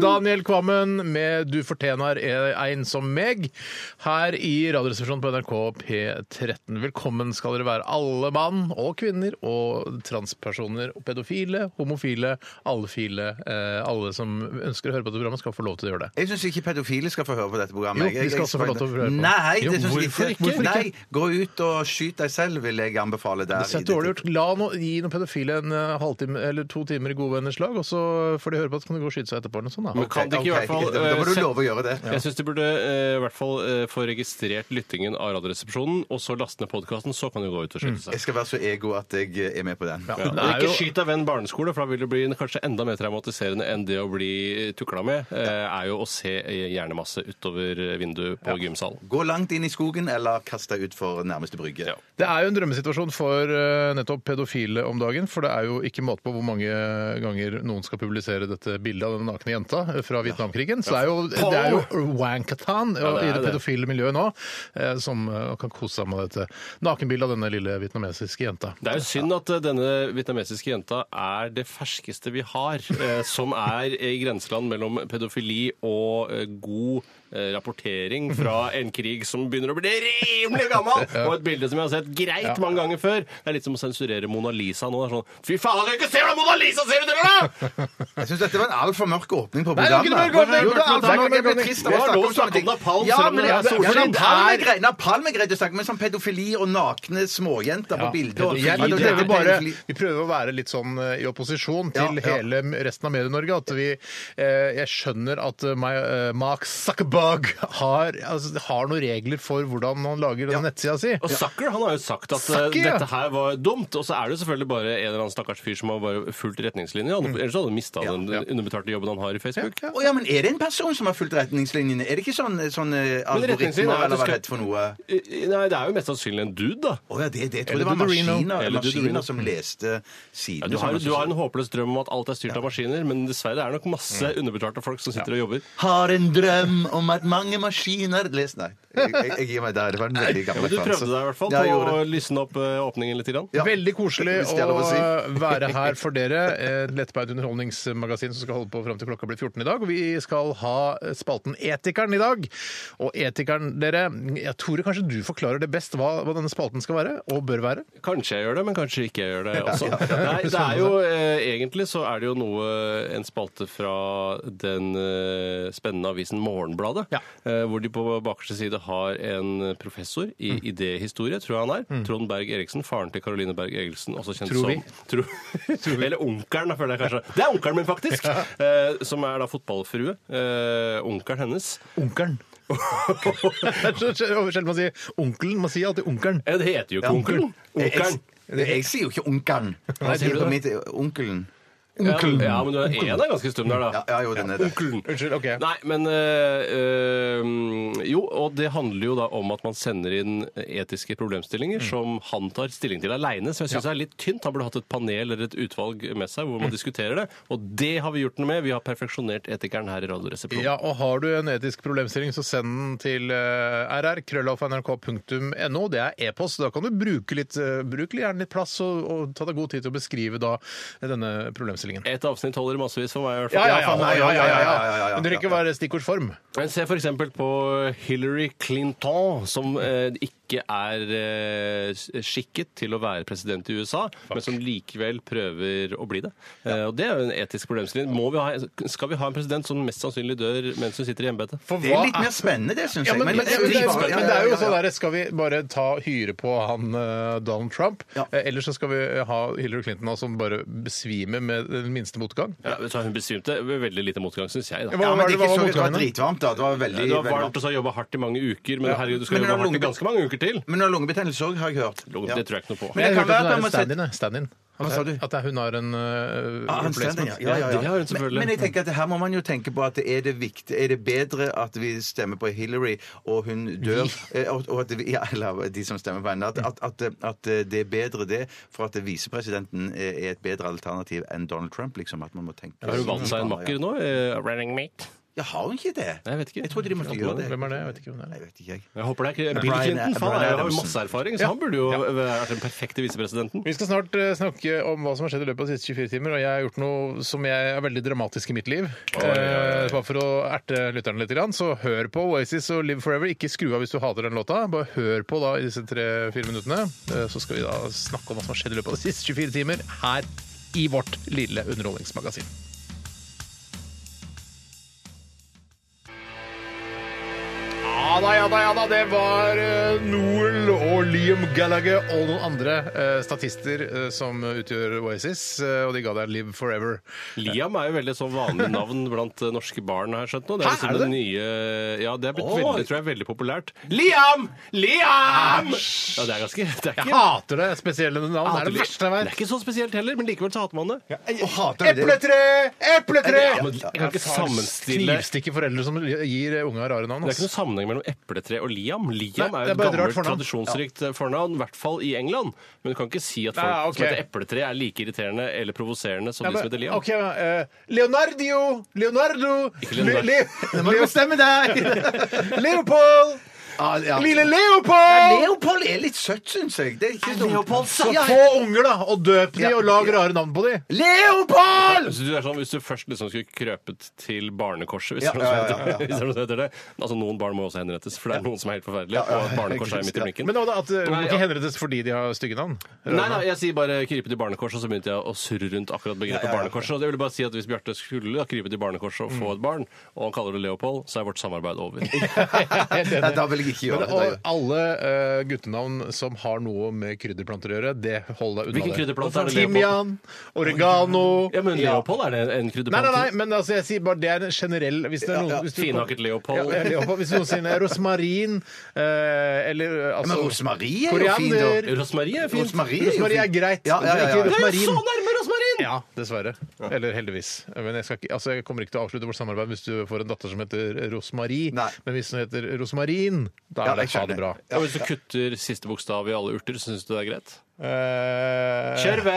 Daniel Kvammen med 'Du fortjener en som meg' her i Radioresepsjonen på NRK P13. Velkommen skal dere være alle mann og kvinner og transpersoner. og Pedofile, homofile, alle file. eh, Alle som ønsker å høre på dette programmet, skal få lov til å gjøre det. Jeg syns ikke pedofile skal få høre på dette Jo, programmet. de skal Jeg- jeg- også få lov til å få høre på. Nei, det Jo, synes jeg hvorfor ikke? Hvorfor Nei, gå ut og skyt deg selv, vil jeg anbefale der. Det er dårlig gjort. La no, gi noen pedofile en eh, halvtime eller to timer i gode venners lag, og så får de høre på at så kan de gå og skyte seg etterpå eller noe sånt. Da. Men kan de ikke i hvert fall Da må eh, du se- love å gjøre det. Jeg syns de burde eh, i hvert fall eh, få registrert lyttingen av Radioresepsjonen, og så laste ned podkasten, så kan de gå ut og skyte Jeg seg. skal være så ego at jeg Mm. eh, er med på den. Ja. Det Men er ikke jo- skyt deg ved en barneskole, for da vil det bli en- kanskje enda mer traumatiserende enn det å bli tukla med. eh, Er jo å se eh, hjernemasse utover eh, vinduet på gymsalen. Gå langt inn i skogen, eller kast deg utfor nærmeste brygge. Ja. Det er jo en drømmesituasjon for eh, nettopp pedofile om dagen, for det er jo ikke måte på hvor mange ganger noen skal publisere dette bildet av den nakne jenta eh, fra Vietnamkrigen. Så det er jo, det er jo wankatan det i er det det. pedofile miljøet nå, eh, som eh, kan kose seg med dette nakenbildet av denne lille vietnamesiske jenta. Det er jo synd at eh, denne vietnamesiske jenta er det ferskeste vi har, eh, som er i grenseland mellom pedofili og eh, god eh, rapportering fra en krig som begynner å bli rimelig gammel, og et bilde som jeg har sett greit mange ganger før. Det er litt som å sensurere Mona Lisa nå. Det er sånn Fy faen, jeg kan ikke se hvordan Mona Lisa ser ut, eller da! Jeg syns dette var en altfor mørk åpning på det var programmet. ikke noe mørk åpning. Jo, det var Det var altfor mørk. Jeg ble mørk trist åpning. av å snakke Det var lov om å snakke sånne om ting. napalm, Ja, selv om men det er ja, solskinn. men napalm er greit. Napalm er greit å snakke om, men sånn pedofili og nakne småjenter på bildet og- Jeg, Ja, vi, det- prøver det- bare, pedofili- vi prøver å være litt sånn eh, i opposisjon til Ja, ja. hele m- resten av Medie-Norge. At vi eh, Jeg skjønner at eh, my, eh, Mark Zuckerberg har, altså, har noen regler for hvordan han lager denne nettsida si. Og Zucker han har jo sagt at eh, Zucker, ja. dette her var dumt, og så er det jo selvfølgelig bare en eller annen stakkars fyr som har bare fulgt retningslinjene. han- Ellers hadde han mista den underbetalte jobben han har i Facebook. Å ja, men er det en person som har fulgt retningslinjene? Er det ikke sånn, sånn eh, retningslinjer er algoritmer at du eller hva skal- redd for noe? Eh, Nei, det er jo mest sannsynlig en dude, da. Å ja, det, det jeg tror Eller jeg det var Dudorino. maskiner, Eller Dudorino. maskiner som leste Ja, sidene. du, som har, var så- du har en håpløs drøm om at alt er styrt av maskiner, men dessverre er det nok masse underbetalte folk som sitter og jobber. Har en drøm om at mange maskiner Les, nei. Jeg, jeg, jeg gir meg der. Det var en veldig Ja, gammel men du prøvde referanse. deg i hvert fall Ja, jeg på gjorde å det. lysne opp eh, åpningen litt. Grann. Ja. Veldig koselig Hvis det er å eh, lov å eh, si. være her for dere. Eh, Lettbeint underholdningsmagasin som skal holde på fram til klokka blir 14 i dag. Og vi skal ha eh, spalten Etikeren i dag. Og Etikeren, dere Jeg tror kanskje du forklarer det best hva, hva denne spalten skal være, og bør være. Kanskje jeg gjør det, men kanskje ikke jeg gjør det også. Nei, det er jo, eh, egentlig så er det jo noe en spalte fra den eh, spennende avisen Morgenbladet, Ja. eh, hvor de på bakerste side har en professor i idéhistorie, tror jeg han er. Trond Berg Eriksen, faren til Caroline Berg Eriksen, også kjent Tror vi. som Tro- Eller onkelen, da føler jeg kanskje. Det er onkelen min, faktisk! Eh, som er da fotballfrue. Eh, onkelen hennes. Onkelen. Det er så sjelden man sier onkelen. Man sier alltid onkelen. Eh, det heter jo ikke onkelen. Onkelen. Jeg, jeg, jeg sier jo ikke onkelen. Jeg sier sier du på da? mitt onkelen. Ja, ja, men du er en er ganske stum der, da. Ja, ja, jo, den er det. Onkelen. Unnskyld, OK. Nei, men øh, øh, Jo, og det handler jo da om at man sender inn etiske problemstillinger Mm. som han tar stilling til aleine, som jeg syns er litt tynt. Han burde hatt et panel eller et utvalg med seg hvor man Mm. diskuterer det. Og det har vi gjort noe med. Vi har perfeksjonert etikeren her i Radioresepsjonen. Ja, og har du en etisk problemstilling, så send den til uh, rr.krøllalfa.nrk.no. Det er e-post. Da kan du bruke litt, eh, bruk gjerne litt plass og, og ta deg god tid til å beskrive da denne problemstillingen. Et avsnitt holder massevis for meg, i hvert fall. for meg, ja, ja, ja, ja, ja, ja. Men det trenger ikke være stikkordsform. Men se f.eks. på Hillary Clinton, som eh, ikke er eh, s- skikket til å være president i USA, men som likevel prøver å bli det. Eh, og Det er jo en etisk problemstilling. Må vi ha, skal vi ha en president som mest sannsynlig dør mens hun sitter i embetet? For Det er litt mer spennende, det, syns ja, jeg. men, men, men, det er- Ja, ja, men det er jo ja, ja. sånn der, Skal vi bare ta hyre på han eh, Donald Trump? Ja. Eh, Eller så skal vi ha Hillary Clinton nå, som bare besvimer med den minste motgang? Ja, vet du hva, hun besvimte ved veldig lite motgang, syns jeg. Da. Hva Ja, var men det, det- hva var ikke så, det var motgangen, da? dritvarmt, da. Det var Ja, veldig, Det var veldig varmt, og så har jobba hardt i mange uker, men herregud, du skal Men hun jobbe har hardt i lunge- ganske mange uker til! Men hun har lungebetennelse òg, har jeg hørt. Det tror jeg ikke noe på. Men det Jeg kan hørte være at at den man der må sette stand-in. jeg. Stand-in. Hva sa du? At det- hun har en øh, Ah, han stemmer, replacement. ja. Ja, ja, ja. det har hun selvfølgelig. Men, men jeg tenker at her må man jo tenke på at er det viktig, er det bedre at vi stemmer på Hillary og hun dør, eh, og, og at vi, ja, eller de som stemmer på henne, at, at, at, at eh, det er bedre det for at visepresidenten eh, er et bedre alternativ enn Donald Trump, liksom, at man må tenke. Har hun valgt seg en makker nå? eh, running mate? Ja, har hun ikke det? Nei, jeg vet ikke. Jeg trodde de måtte Ja, gjøre det. Hvem er det? Jeg vet ikke hvem det er. Nei, jeg vet ikke jeg. Jeg håper det er ikke Bill Brian- Clinton. Faen, Brian jeg har jo Adamson. masse erfaring, så han burde jo vært den perfekte visepresidenten. Vi skal snart eh, snakke om hva som har skjedd i løpet av de siste 24 timer, og jeg har gjort noe som jeg er veldig dramatisk i mitt liv. Eh, Bare for å erte lytterne litt, grann, så hør på Oasis og Live Forever. Ikke skru av hvis du hater den låta. Bare hør på da i disse tre-fire minuttene, eh, så skal vi da snakke om hva som har skjedd i løpet av de siste 24 timer her i vårt lille underholdningsmagasin. Ja da, ja da, ja da. Det var eh, Noel og Liam Gallagher og noen andre eh, statister eh, som utgjør Oasis, eh, og de ga deg Live Forever. Liam er jo veldig sånn vanlig navn blant eh, norske barn, har jeg skjønt nå. Det Hæ, er, liksom er det det det? nye Ja, det er blitt Oi. veldig, tror jeg, veldig populært. Liam! Liam! Ja, det er ganske Det er Jeg ikke hater det spesielle navn. Det er det verste jeg Det er vet. ikke så spesielt heller, men likevel så hater man det. Og hater vi det? Epletre! Epletre! Ja, men jeg kan ikke sammenstille Det Knivstikke foreldre som gir unga rare navn. er ikke ass. noen sammenheng mellom epletre og Liam. Liam Nei, det er er jo et bare et rart gammelt, fornavn. tradisjonsrikt eh, fornavn, i hvert fall i England. Men du kan ikke si at folk Nei, Ah, ok. som heter epletre, er like irriterende eller provoserende som Ja, de men- som heter Liam. ok, eh, Leonardo! Leonardo! Ikke Leonardo. Le, Det le, må du Leo- bestemme deg! Leopold! Ah, ja. Lille Leopold! Leopold er litt søtt, syns jeg. Det er ikke dumt. Så Ja, få unger, da, og døp de Ja. og lag rare navn på de. Leopold! Så du er sånn, hvis du først liksom skulle krøpet til barnekorset, hvis Ja, det er noe som ja, ja, ja, heter- hvis det er noe som heter det Men Altså, noen barn må også henrettes, for det er noen som er helt forferdelige, og barnekorset er midt i blinken. Men hva da, at eh, Nei, må ja. ikke henrettes fordi de har stygge navn? Nei, nei, jeg sier bare krype til barnekorset, og så begynte jeg å surre rundt akkurat begrepet barnekorset. Og det ville bare si at hvis Bjarte skulle da krype til barnekorset og få et barn, og han kaller det Leopold, så er vårt samarbeid over. Nei, da vil jeg ikke gjøre Men, det. og alle eh, guttenavn som har noe med krydderplanter å gjøre, det hold deg unna Hvilken det. krydderplante er det Leopold? Timian, oregano Ja, men Leopold, er det en Nei, nei, krydderplante? nei, men altså, jeg sier bare det er en generell hvis det er noen, hvis du, Finhakket Ja, Leopold. ja, Leopold. Hvis noen sier rosmarin eh, eller eh, Men altså, rosmarie er jo fin, da. Koriander Rosmarie er fint. Rosmarie er, jo Rosmarin er fint. greit. Ja, ja, ja, ja. men ikke Det er Det er jo rosmarin. så nærme rosmarin! Ja, dessverre. Eller heldigvis. Men jeg, skal ikke, altså, jeg kommer ikke til å avslutte vårt samarbeid hvis du får en datter som heter Rosmarie. Nei. Men hvis hun heter Rosmarin, da er det Ja, jeg ha det skjønner. bra. Og hvis du kutter siste bokstav i alle urter, syns du det er greit? Eh, Kjørve,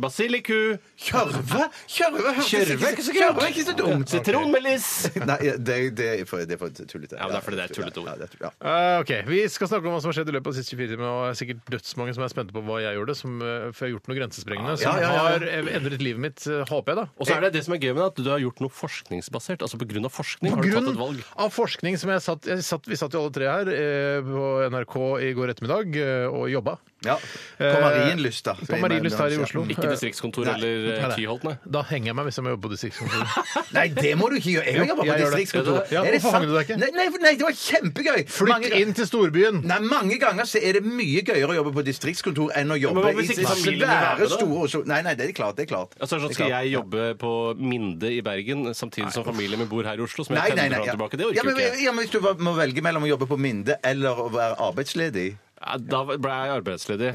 basiliku, Kjørve? Kjørve hørtes Kjørve er ikke så gærent. Kjørve er ikke så dumt. sitronmeliss. Nei, det, det, er for, det er for tullete. Ja, men det er fordi det er tullete ord. Ja, det er tull- ja. eh, ok, Vi skal snakke om hva som har skjedd i løpet av de siste 24 timene. Og det er sikkert dødsmange som er spente på hva jeg gjorde, som, eh, for jeg har gjort noe grensesprengende. Ja, ja, ja, ja. Som har endret livet mitt, eh, håper jeg, da. Og så er det det som er gøy med det, at du har gjort noe forskningsbasert. Altså på grunn av forskning På har du tatt grunn et valg. av forskning som jeg satt, jeg satt Vi satt jo alle tre her eh, på NRK i går ettermiddag eh, og jobba. ja. På Marienlyst, da. På Marienlyst her i Oslo. Ikke distriktskontor Nei. eller eh, Nei, nei. Tyholt, nei. Da henger jeg meg hvis jeg må jobbe på distriktskontoret. Nei, det må du ikke gjøre! Jeg jobber på jeg gjør det. distriktskontor. Ja, Er det hvorfor sant? fang du deg ikke? Nei, nei, nei, det var kjempegøy! Flytt inn til storbyen! Nei, Mange ganger så er det mye gøyere å jobbe på distriktskontor enn å jobbe Men hva hvis i ikke familien vil være svære, med, da? store Oslo. Nei, nei, det er klart. det er klart. Altså, sånn, Det er skal klart. jeg jobbe på Minde i Bergen samtidig som familien min bor her i Oslo? Som Nei, jeg nei, pendler nei. fram og Ja. tilbake? Det ja, orker men, jo ikke jeg. ja, men Hvis du var- må velge mellom å jobbe på Minde eller å være arbeidsledig Ja, Da ble jeg arbeidsledig eh,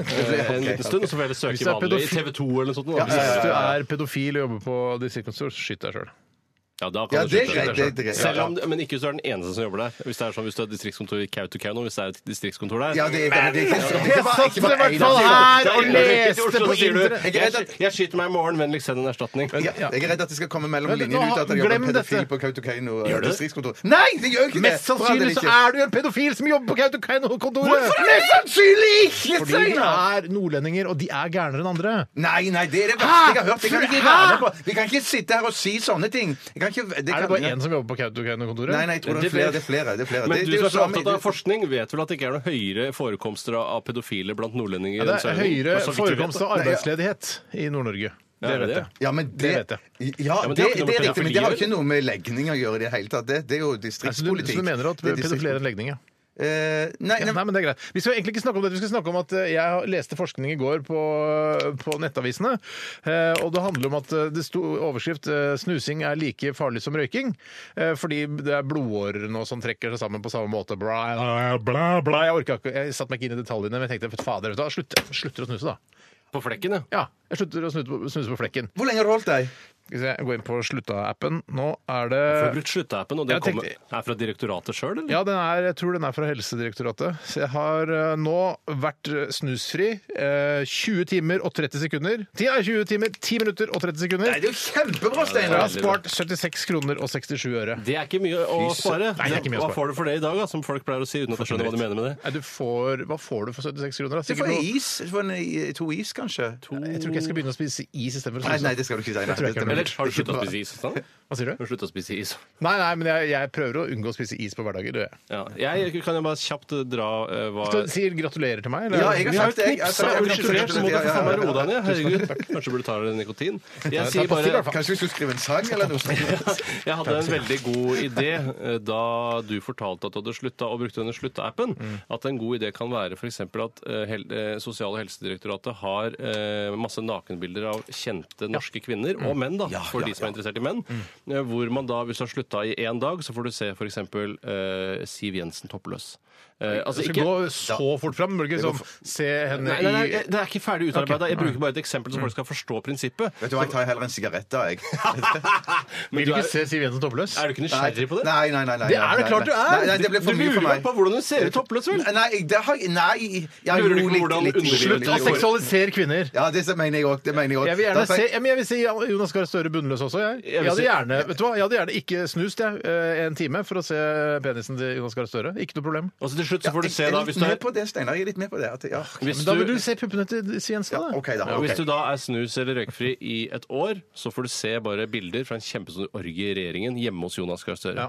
ok, en liten stund, og så får jeg heller Hvis søke det er vanlig i pedofil- TV 2 eller noe sånt. Ja, Da. ja, Hvis ja. du er pedofil og jobber på distriktskontor, så skyt deg sjøl. Ja, da Ja, kan du det er slutte. greit. det er greit. Selv om, men ikke hvis du er den eneste som jobber der. Hvis det er sånn, hvis du har distriktskontor i Kautokeino, hvis det er et distriktskontor der Ja, det er det. er ikke- Jeg det var- satt ikke i bare hvert en fall av her og de- Jeg er ikke i leste Oslo, på sier du. internett! Jeg er Jeg, redd at- jeg skyter meg i morgen, vennligst send en erstatning. Ja, jeg er redd at det skal komme mellom Men nå linjene ut har- at jeg jobber glem pedofil dette. på Kautokeino eh, Gjør du det? distriktskontor. Nei, det gjør ikke det! Mest sannsynlig så er du en pedofil som jobber på Kautokeino-kontoret! Mest sannsynlig ikke! Fordi de Steinar! er nordlendinger, og de er gærnere enn andre. Nei, nei, det er det verste jeg har hørt. Det kan vi ikke Hæ? være med på. Vi kan ikke sitte her og si sånne ting. Jeg kan ikke, det Er kan, det bare én som jobber på Kautokeino-kontoret? Nei, nei, jeg tror det er Det flere. Det blir- er flere. Det er flere. Men det, du det er som jo er så samme- opptatt av forskning, vet vel at det ikke er noen høyere forekomster av av pedofile blant nordlendinger? Ja, enn det er sørlendinger? høyere Bare så vidt vi vet, forekomst da. av arbeidsledighet i Nord-Norge. Ja, Det er det vet det? jeg. ja, men det, Det vet jeg. Ja, men det det, har det, er riktig, men ikke noe med det har pedofili å ikke noe med legning å gjøre i det hele tatt. Det, det er jo Nei, Så du, distriktspolitikk. så du mener at Det er pedofile er en distriktspolitikk. legning, ja? Eh, nei, Ja, nei, Nei, men det er greit. Vi skal egentlig ikke snakke om det. Vi skal snakke om at eh, jeg leste forskning i går på, på nettavisene. eh, Og det handler om at eh, det sto overskrift eh, 'Snusing er like farlig som røyking'. eh, Fordi det er blodårer nå som trekker seg sammen på samme måte. Bla, bla, bla. Jeg orka ikke Jeg satte meg ikke inn i detaljene, men jeg tenkte "Fy fader, vet du hva, slutt, jeg slutter å snuse, da. På flekken, ja. Ja, jeg slutter å snuse på, snuse på flekken. Hvor lenge har du holdt deg? Skal vi se, jeg går inn på slutta-appen. Nå er Du har det brukt sluttappen, og Jeg det kommer, tenkte- er fra direktoratet sjøl, eller? ja, den er, jeg tror den er fra Helsedirektoratet. Så jeg har eh, nå vært eh, snusfri eh, 20 timer og 30 sekunder. 10, nei, 20 timer, 10 minutter og 30 sekunder. Nei, det er jo kjempebra, Jeg har Steinar! veldig spart 76 kroner og 67 øre. Det er ikke mye å Fy spare. søren. Nei, det er ikke mye å Hva spare. får du for det i dag, da, som folk pleier å si, uten at jeg skjønner hva de mener med det? Nei, du får, hva får du for 76 kroner? da? Du Sikkert får en noe- is. Du får en, to is, kanskje. Jeg tror ikke jeg skal begynne å spise is istedenfor å Nei, snuse. nei, det skal du ikke tror si. Nei, jeg ikke det- heller. Eller har du slutta å spise is? Sånn? Hva sier du? Har du sluttet å spise is? Nei, nei, men jeg, jeg prøver å unngå å spise is på hverdager. Det gjør jeg. Ja. Jeg kan jo bare kjapt eh, dra eh, hva Så Sier gratulerer til meg? eller? Ja, jeg har Vi har sagt jo det. jeg- jeg har knipsa sagt- jeg og har gratulert, så må gratulert, du for faen ja, ja, meg ja. roe deg ned. Herregud. Kanskje burde du ta deg nikotin. Jeg sier passer i bare hvert fall. Kanskje vi skulle skrive en sang eller noe sånt? Jeg hadde en veldig god idé eh, da du fortalte at du hadde slutta og brukte denne slutta-appen. Mm. At en god idé kan være f.eks. at eh, hel eh, Sosial- og helsedirektoratet har eh, masse nakenbilder av kjente norske kvinner, Mm. og menn, da, for de som er interessert i menn. eh, Hvor man da, hvis du har slutta i én dag, så får du se f.eks. Eh, Siv Jensen toppløs. Eh, Du altså skal ikke gå så fort fram. Bør du ikke sånn se henne Nei, nei, nei, i det- det er ikke ferdig utarbeida. Jeg bruker bare et eksempel så folk skal forstå prinsippet. Vet du hva, jeg tar heller en sigarett, da, jeg. Men Vil du du er, ikke se Siv Jensen toppløs? er du ikke nysgjerrig på det? Nei, nei, nei. nei Det er det nei, klart nei. du er! Nei, nei, det ble for du mye for lurer meg. meg på hvordan hun ser ut toppløs, vel? Nei, det har jeg Nei! Jeg Lurer du ikke gjorde på hvordan underlivet- Slutt å seksualisere kvinner! Ja, det mener jeg òg. Det mener jeg òg. Jeg vil gjerne se, ja, men jeg vil si Jonas Gahr Støre bunnløs også. Jeg. Jeg vil Jeg, hadde si- gjerne, vet du hva? jeg hadde gjerne ikke snust jeg, eh, en time for å se penisen til Jonas Gahr Støre. Ikke noe problem. Og så til slutt så får du se, Jeg da, er hvis litt du med er på det, Steinar. Jeg er litt med på det. At, ja. hvis Men du, da vil du se puppene til Siv Jensen, ja, da. OK, da. ja, ok. hvis du da er snus eller røykfri i et år, så får du se bare bilder fra en kjempestor orgie i regjeringen hjemme hos Jonas Gahr Støre. Ja.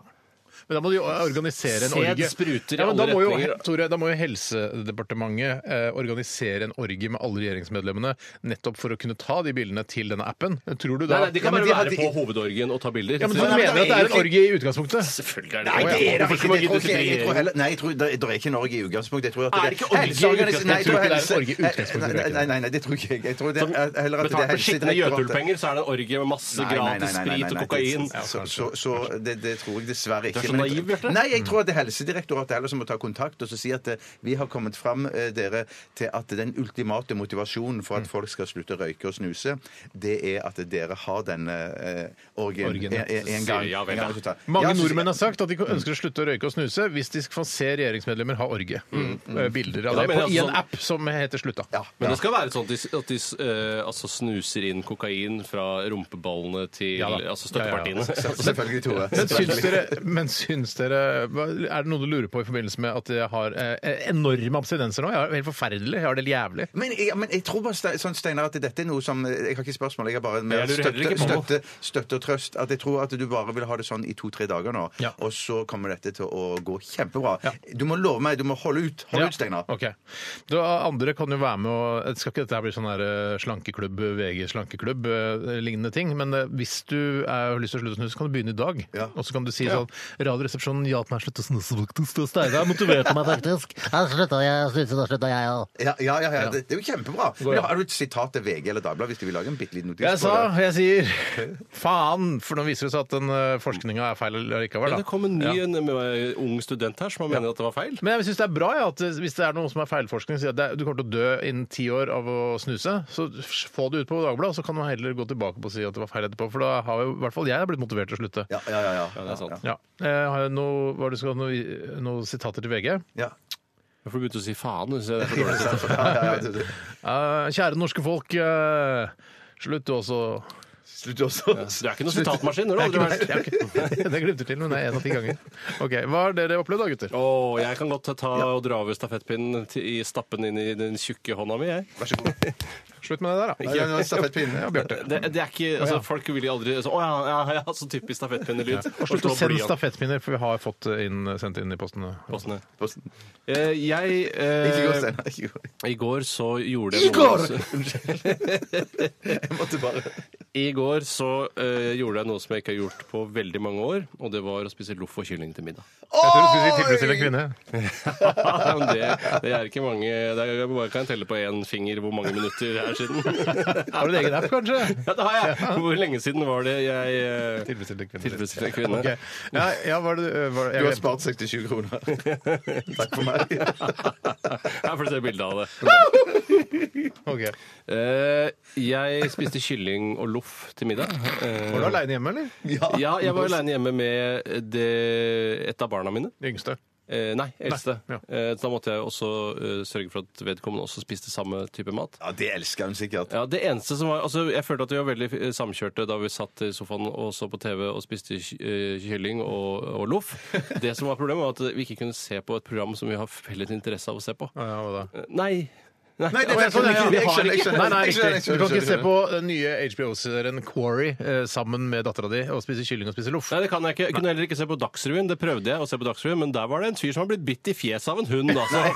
Men da må de jo organisere en Sæd orgie. spruter i men da alle må jo, retninger. Tore, da må jo Helsedepartementet eh, organisere en orgie med alle regjeringsmedlemmene nettopp for å kunne ta de bildene til denne appen. Tror du Nei, da? nei, de kan Ja, men bare de hadde- være på hovedorgien og ta bilder. Ja, men Du Så- mener at det er en orgie i utgangspunktet? Selvfølgelig er det Nei, det er det Hvorfor ikke. skal man Jeg tror gidde å ikke, jeg sitte i tror regjering? heller, nei, jeg tror, det, det er ikke en orgie i utgangspunktet. Jeg tror at Er det ikke orgie i helseorganis- Nei, jeg tror utgangspunktet? Jeg tror ikke det er en orgie i helse- utgangspunktet, Nei, nei, nei, nei, det tror ikke jeg. Jeg tror det er heller at det Betalt er med skitne Helsedirektoratet. Jøtul-penger, så er det en orgie med masse gratis sprit og kokain. det- Så, så, så det, det tror jeg dessverre ikke. Du er så men jeg- naiv, Bjarte. Nei, jeg tror at det er Helsedirektoratet heller som må ta kontakt og så si at eh, vi har kommet fram eh, dere, til at den ultimate motivasjonen for at Mm. folk skal slutte å røyke og snuse, det er at dere har denne eh, orgien Orgien, en, ja. en, en gang. Ja, vel, ja. en gang så tar- Mange Ja, så- Mm. nordmenn har sagt at de ønsker å slutte å røyke og snuse hvis de får se regjeringsmedlemmer ha orgie. Mm, Eh, Bilder av Ja, det men på, i altså- en app som heter Slutta. sånn- Ja, ja. Men det skal være sånn at de, at de eh, altså snuser inn kokain fra rumpeballene til Ja da. altså støttepartiene. Selvfølgelig, Tore. Men syns, dere, men syns dere hva- Er det noe du lurer på i forbindelse med at jeg har eh, enorme abstinenser nå? Jeg har helt forferdelig. Jeg har det helt jævlig. Men jeg, men jeg tror bare, Ste- sånn, Steinar, at dette er noe som eh, Jeg har ikke spørsmål, jeg har bare Jeg mer lurer heller støtte, ikke på støtte, støtte og trøst. At jeg tror at du bare vil ha det sånn i to-tre dager nå, Ja. og så kommer dette til å gå kjempebra. Ja. Du må love meg, du må holde ut. Hold ut, Steinar. Ok. Da, andre kan jo være med og Skal ikke dette her bli sånn her eh, slankeklubb, VG slankeklubb, eh, lignende ting, men eh, hvis du er, har lyst til å slutte å snuse, kan du begynne i dag. Ja. Og så kan du si sånn Radioresepsjonen hjalp meg å slutte å snuse, faktisk. Og Steinar motiverte meg faktisk. Da slutta jeg, slutta, da slutta jeg òg. Ja, ja, ja, ja. Det, det er jo kjempebra. Men har du et sitat til VG eller Dagbladet hvis de vil lage en bitte liten notis Jeg sa, på det? jeg sier faen, for nå viser det seg at den forskninga er feil likevel. Ja, da. det kom en ny Ja. en, eh, ung student her som mener at det var feil. Men jeg synes det er bra ja, at hvis det er noen som er feilforskning, sier at det er- du kommer til å dø innen ti år av å snuse, så få det ut på Dagbladet, så kan man heller gå tilbake på å si at det var feil etterpå. For da har jo i hvert fall jeg blitt motivert til å slutte. Ja, ja, ja. ja. Ja, det er sant. Ja. Eh, har jeg noe, hva er det du skal ha noe, noen sitater til VG? Ja. Jeg får begynne å si faen. hvis jeg- det er for dårlig. Ja, ja, ja, det- det- Eh, kjære norske folk, eh, slutt også. Slutt også. Du er ikke noen sitatmaskin, har du aldri vært. Det glimter til, men det er en av ti ganger. Ok, Hva har dere opplevd da, gutter? Å, jeg kan godt ta og dra over stafettpinnen til- i stappen inn i den tjukke hånda mi, jeg. Vær så god. Slutt med det der, da. Nei, nå er det stafettpinnen. Ja, Bjarte. Det, det er ikke, Å, ja. altså, Folk vil jo aldri så, Å ja, ja, ja, så typisk stafettpinnelyd. Og slutt å sende stafettpinner, for vi har fått eh, inn, sendt inn i posten. stafettpostene. Posten. Eh, Jeg Ikke gå, eh, Steinar. Ikke gå. I går så gjorde I jeg noe- går! Unnskyld. Jeg måtte bare I går så eh, gjorde jeg noe som jeg ikke har gjort på veldig mange år, og det var å spise loff og kylling til middag. Jeg tror du skulle si tilfredsstille en kvinne. Men det, det er ikke mange det er, Jeg bare kan telle på én finger hvor mange minutter det er siden. Har du en egen app, kanskje? Ja, det har jeg! Hvor lenge siden var det jeg eh, Tilfredsstille kvinne. tilfredsstilte en kvinne? Ok. Ja, ja, var det, var det, Du jeg har vet- spart 67 kroner. Takk for meg. Her får du se bilde av det. Ok, Ok. Eh, jeg spiste kylling og loff til middag. Eh, Var du aleine hjemme, eller? Ja, jeg var aleine hjemme med det, et av barna mine. De yngste. Eh, nei, eldste. Nei, Eh, da måtte jeg også eh, sørge for at vedkommende også spiste samme type mat. Ja, det elsker hun sikkert. Ja, det eneste som var, altså Jeg følte at vi var veldig eh, samkjørte da vi satt i sofaen og så på TV og spiste ky- eh, kylling og, og loff. Det som var problemet, var at vi ikke kunne se på et program som vi har felles interesse av å se på. Ja, hva da? Eh, Nei. Nei, Nei, det- Å, ja, sånn, ja, ja. Jeg skjønner, jeg skjønner. Nei, nei, Jeg skjønner, jeg riktig. skjønner, Du kan jeg ikke se skjønner. på den nye HBO-serien Quarry eh, sammen med dattera di og spise kylling og spise loff. Nei, det kan jeg ikke. Jeg kunne heller ikke se på Dagsrevyen. Det prøvde jeg å se på Dagsrevyen, men der var det en fyr som har blitt bitt i fjeset av en hund, altså.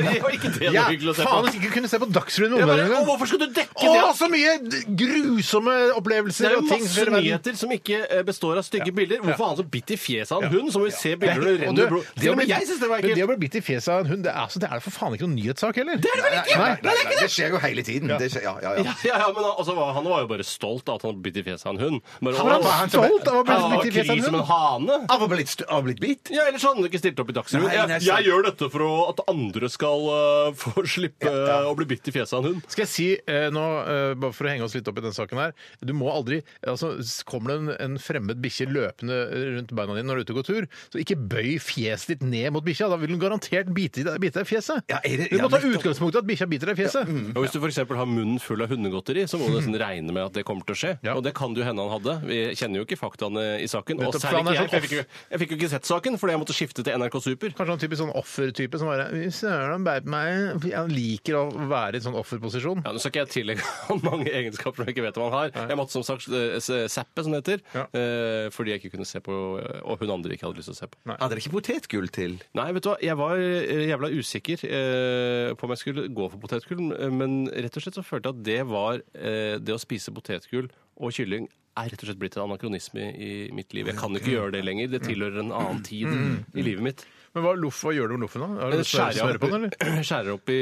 Det var ikke det Ja, noe hyggelig å se på. faen, hvis ikke kunne se på Dagsrevyen med Jeg bare, ungdommene «Å, hvorfor skulle du dekke det? Å, så mye d- grusomme Det opplevelser er jo og ting masse nyheter som ikke eh, består av stygge bilder. Hvorfor har han så bitt i fjeset av en hund? Så må vi se bilder når det Og renner du, blod. Til og med jeg syns det var Men det ekkelt. å bli bitt i fjeset av en hund, det er, altså, det er for faen ikke noen nyhetssak heller. Det er det Nei, nei, nei, det skjer jo hele tiden. Det skjer, ja, ja, Ja, ja. ja, ja, men altså, hva- Han var jo bare stolt av at han hadde bitt i fjeset av en hund. Bare, Han «Å, var stolt av å bli han var bitt i fjeset kry av en som en hund. hane. Av og blitt, av og blitt bitt? Ja, Ellers hadde han ikke stilt opp i Dagsrevyen. Nei, nei, Jeg, sant. jeg gjør dette for å, at andre skal eh, få slippe eh, å bli bitt i fjeset av en hund. Skal jeg si eh, nå, eh, bare for å henge oss litt opp i den saken her Du må aldri altså, s- Kommer det en, en fremmed bikkje løpende eh, rundt beina dine når du er ute og går tur, så ikke bøy fjeset ditt ned mot bikkja. Da vil hun garantert bite, i deg- bite deg i fjeset. Ja, er det- du ja, må ta nettopp. utgangspunkt i at bikkja biter deg i fjeset. Og Hvis du f.eks. har munnen full av hundegodteri, så må du nesten regne med at det kommer til å skje. Ja. Og det kan det jo hende han hadde. Vi kjenner jo ikke faktaene i saken. Og Nettopp, for særlig han er ikke jeg, sånn for jeg fikk, jo, jeg fikk jo ikke sett saken fordi jeg måtte skifte til NRK Super. Kanskje han typisk sånn offertype som bare «Fy Søren, han beit meg. Han liker å være i en sånn offerposisjon. Ja, Nå skal ikke jeg tillegge han mange egenskaper som jeg ikke vet om han har. Jeg måtte som sagt eh, se- zappe, som det heter, Ja. eh, fordi jeg ikke kunne se på eh, Og hun andre ikke hadde lyst til å se på. Hadde dere ikke potetgull til? Nei, vet du hva, jeg var eh, jævla usikker eh, på om jeg skulle gå for potetgull, eh, men rett og slett så følte jeg at det var eh, det å spise potetgull og kylling er rett og slett blitt en anakronisme i mitt liv. Jeg kan ikke gjøre det lenger. Det tilhører en annen Mm. tid i livet mitt. Men hva, er loff, hva gjør du med loffen, da? Har du Jeg smør- smør Eh, Skjærer på den, opp, eller? skjærer opp i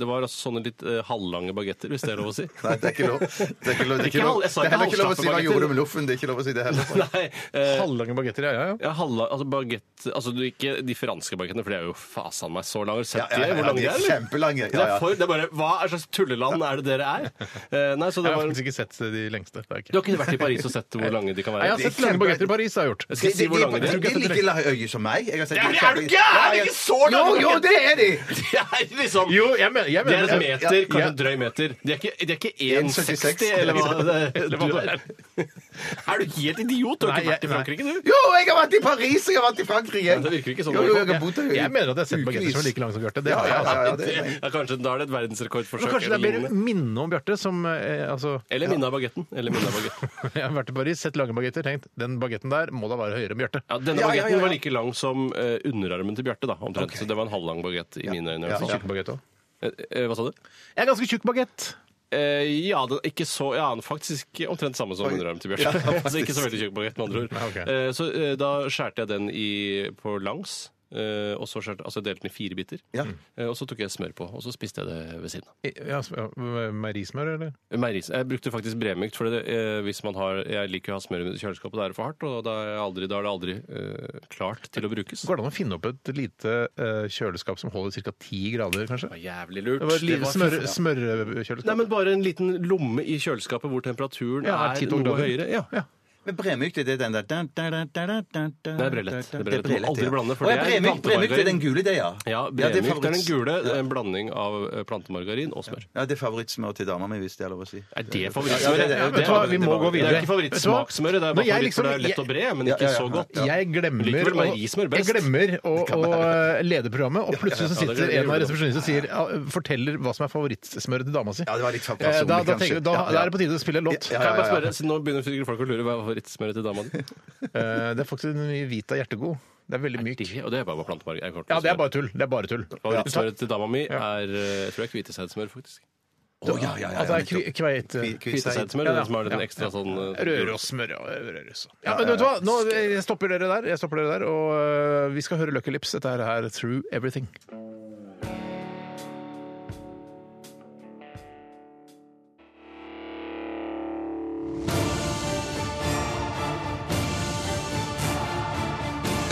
Det var altså sånne litt eh, halvlange bagetter, hvis det er lov å si. Nei, det er ikke lov. Det er ikke lov, det er Ikke ikke lov. halv- jeg sa Det er heller ikke lov å si ikke hva halvstappet jeg gjorde med loffen. Det er ikke lov å si det heller. Nei, eh, Halvlange bagetter, ja, ja. ja. ja, halva, altså bagett, altså du, Ikke de franske bagettene, for det er jo fasan meg så lange. Har du sett Ja, ja, ja, de? Hvor lange de de er er? eller? kjempelange. Det Ja, er ja. for, det er bare, hva er slags tulleland er det dere er? Eh, nei, så Jeg det har var, faktisk ikke sett de lengste. Det er du ikke. har ikke vært i Paris og sett hvor lange de kan Nei, altså, jeg har være? sett lange bagetter i Paris, har jeg gjort. Skal jeg si hvor lange de de er? er like lange som meg. Jeg har sett de Er du gæren? Det er ikke så Jo, lange! jo, det er de! Det er liksom Jo, jeg mener, jeg Det er mener en meter, Ja, kanskje en drøy meter. De er ikke, de er ikke 1,60 1,76, eller hva det eller hva du det er. Er du helt idiot? Du har ikke Nei, vært i jeg- Frankrike, du? Jo, jeg har vært i Paris, jeg har vært i Frankrike. Ja, det virker ikke sånn. Jo, jo, jeg har bodd der. i Jeg mener at jeg har sett ukevis. bagetter som er like lange som Bjarte. Det Ja, har jeg. ja, ja, Altså. ja, det er- Ja, kanskje da er det et verdensrekordforsøk. Kanskje det er eller bedre lignende. minne om Bjarte, som eh, altså, Eller minne av bagetten. Eller minne av bagetten. Jeg har vært i Paris, sett lange bagetter, tenkt den bagetten der må da være høyere enn Bjarte. Ja, Denne Ja, ja, bagetten ja, ja. var like lang som eh, underarmen til Bjarte. da, omtrent. Så det var en halvlang bagett i mine øyne. i hvert fall. Tjukk bagett også. Eh, eh, Hva sa du? Jeg er ganske tjukk bagett. Eh, ja, den, ikke så, ja, den faktisk omtrent samme som underarmen til Bjarte. altså, ikke så veldig tjukk bagett, med andre ord. Ja, ok. Eh, så eh, da skjærte jeg den i, på langs. eh, og så skjærte, altså jeg delte den i fire biter. Ja. Eh, og så tok jeg smør på, og så spiste jeg det ved siden av. Ja, sm- ja, Meierismør, eller? Meieris. Jeg brukte faktisk bremykt, for det, eh, hvis man har, jeg liker å ha smør i kjøleskapet, det er det for hardt, og da er, jeg aldri, da er det aldri eh, klart til å brukes. Går det an å finne opp et lite eh, kjøleskap som holder ca. 10 grader, kanskje? Det var jævlig lurt. Det var et lite smør, smørkjøleskap. Nei, men bare en liten lomme i kjøleskapet hvor temperaturen Ja, er, 10 noe grader. høyere. Ja. Ja. Men bremykt, det er den der dun, dun, dun, dun, dun, dun, dun. Det er brelett. Det er brelett. Det er Du må aldri ja. blande, for Å, ja, det er bremykt- bremykt er den gule, det, ja. Ja, det er Bremykt er den favoritt- gule, en blanding av eh, plantemargarin og smør. Ja, det er favorittsmør til dama mi, hvis det er lov å si. Er det favorittsmøret? Ja, ja, ja, vet du hva, vi må gå videre. Det er ikke favorittsmaksmøret, det er Når bare jeg favoritt, for det liksom- er lett og bred, men Ja, ja, ikke ja. så godt. Jeg Men glemmer, likevel å- meierismør best. jeg glemmer å, å eh, lede programmet, og plutselig så Ja, det sitter gjør en av det. resepsjonistene og sier, ja, forteller hva som er favorittsmøret til dama si. Ja, det var litt for Eh, personlig, da, da, kanskje. tenker, da, Ja, ja. da er det på tide å spille en låt. Ja, Kan jeg ja, bare ja. spørre, siden Nå begynner sikkert folk å lure hva er favorittsmøret til dama di Eh, det er faktisk den nye Vita Hjertegod. Det er veldig myk. er. Og det er bare plantemargarin. Ja, det er bare tull. Det er bare tull. altså, Favorittsmøret til dama mi er eh, jeg tror jeg hviteseidsmør, faktisk. Å, ja, ja, ja, Altså, Ja, det er kve- nettopp. kveit... Kvi- kvi- Hviteseidsmør Ja, ja. er det som har den ekstra sånn eh, Rørosmør og rørøs. Ja, men vet du hva? Nå jeg stopper dere der, jeg stopper dere der og øh, vi skal høre Lucky Lips. Dette her er Through Everything.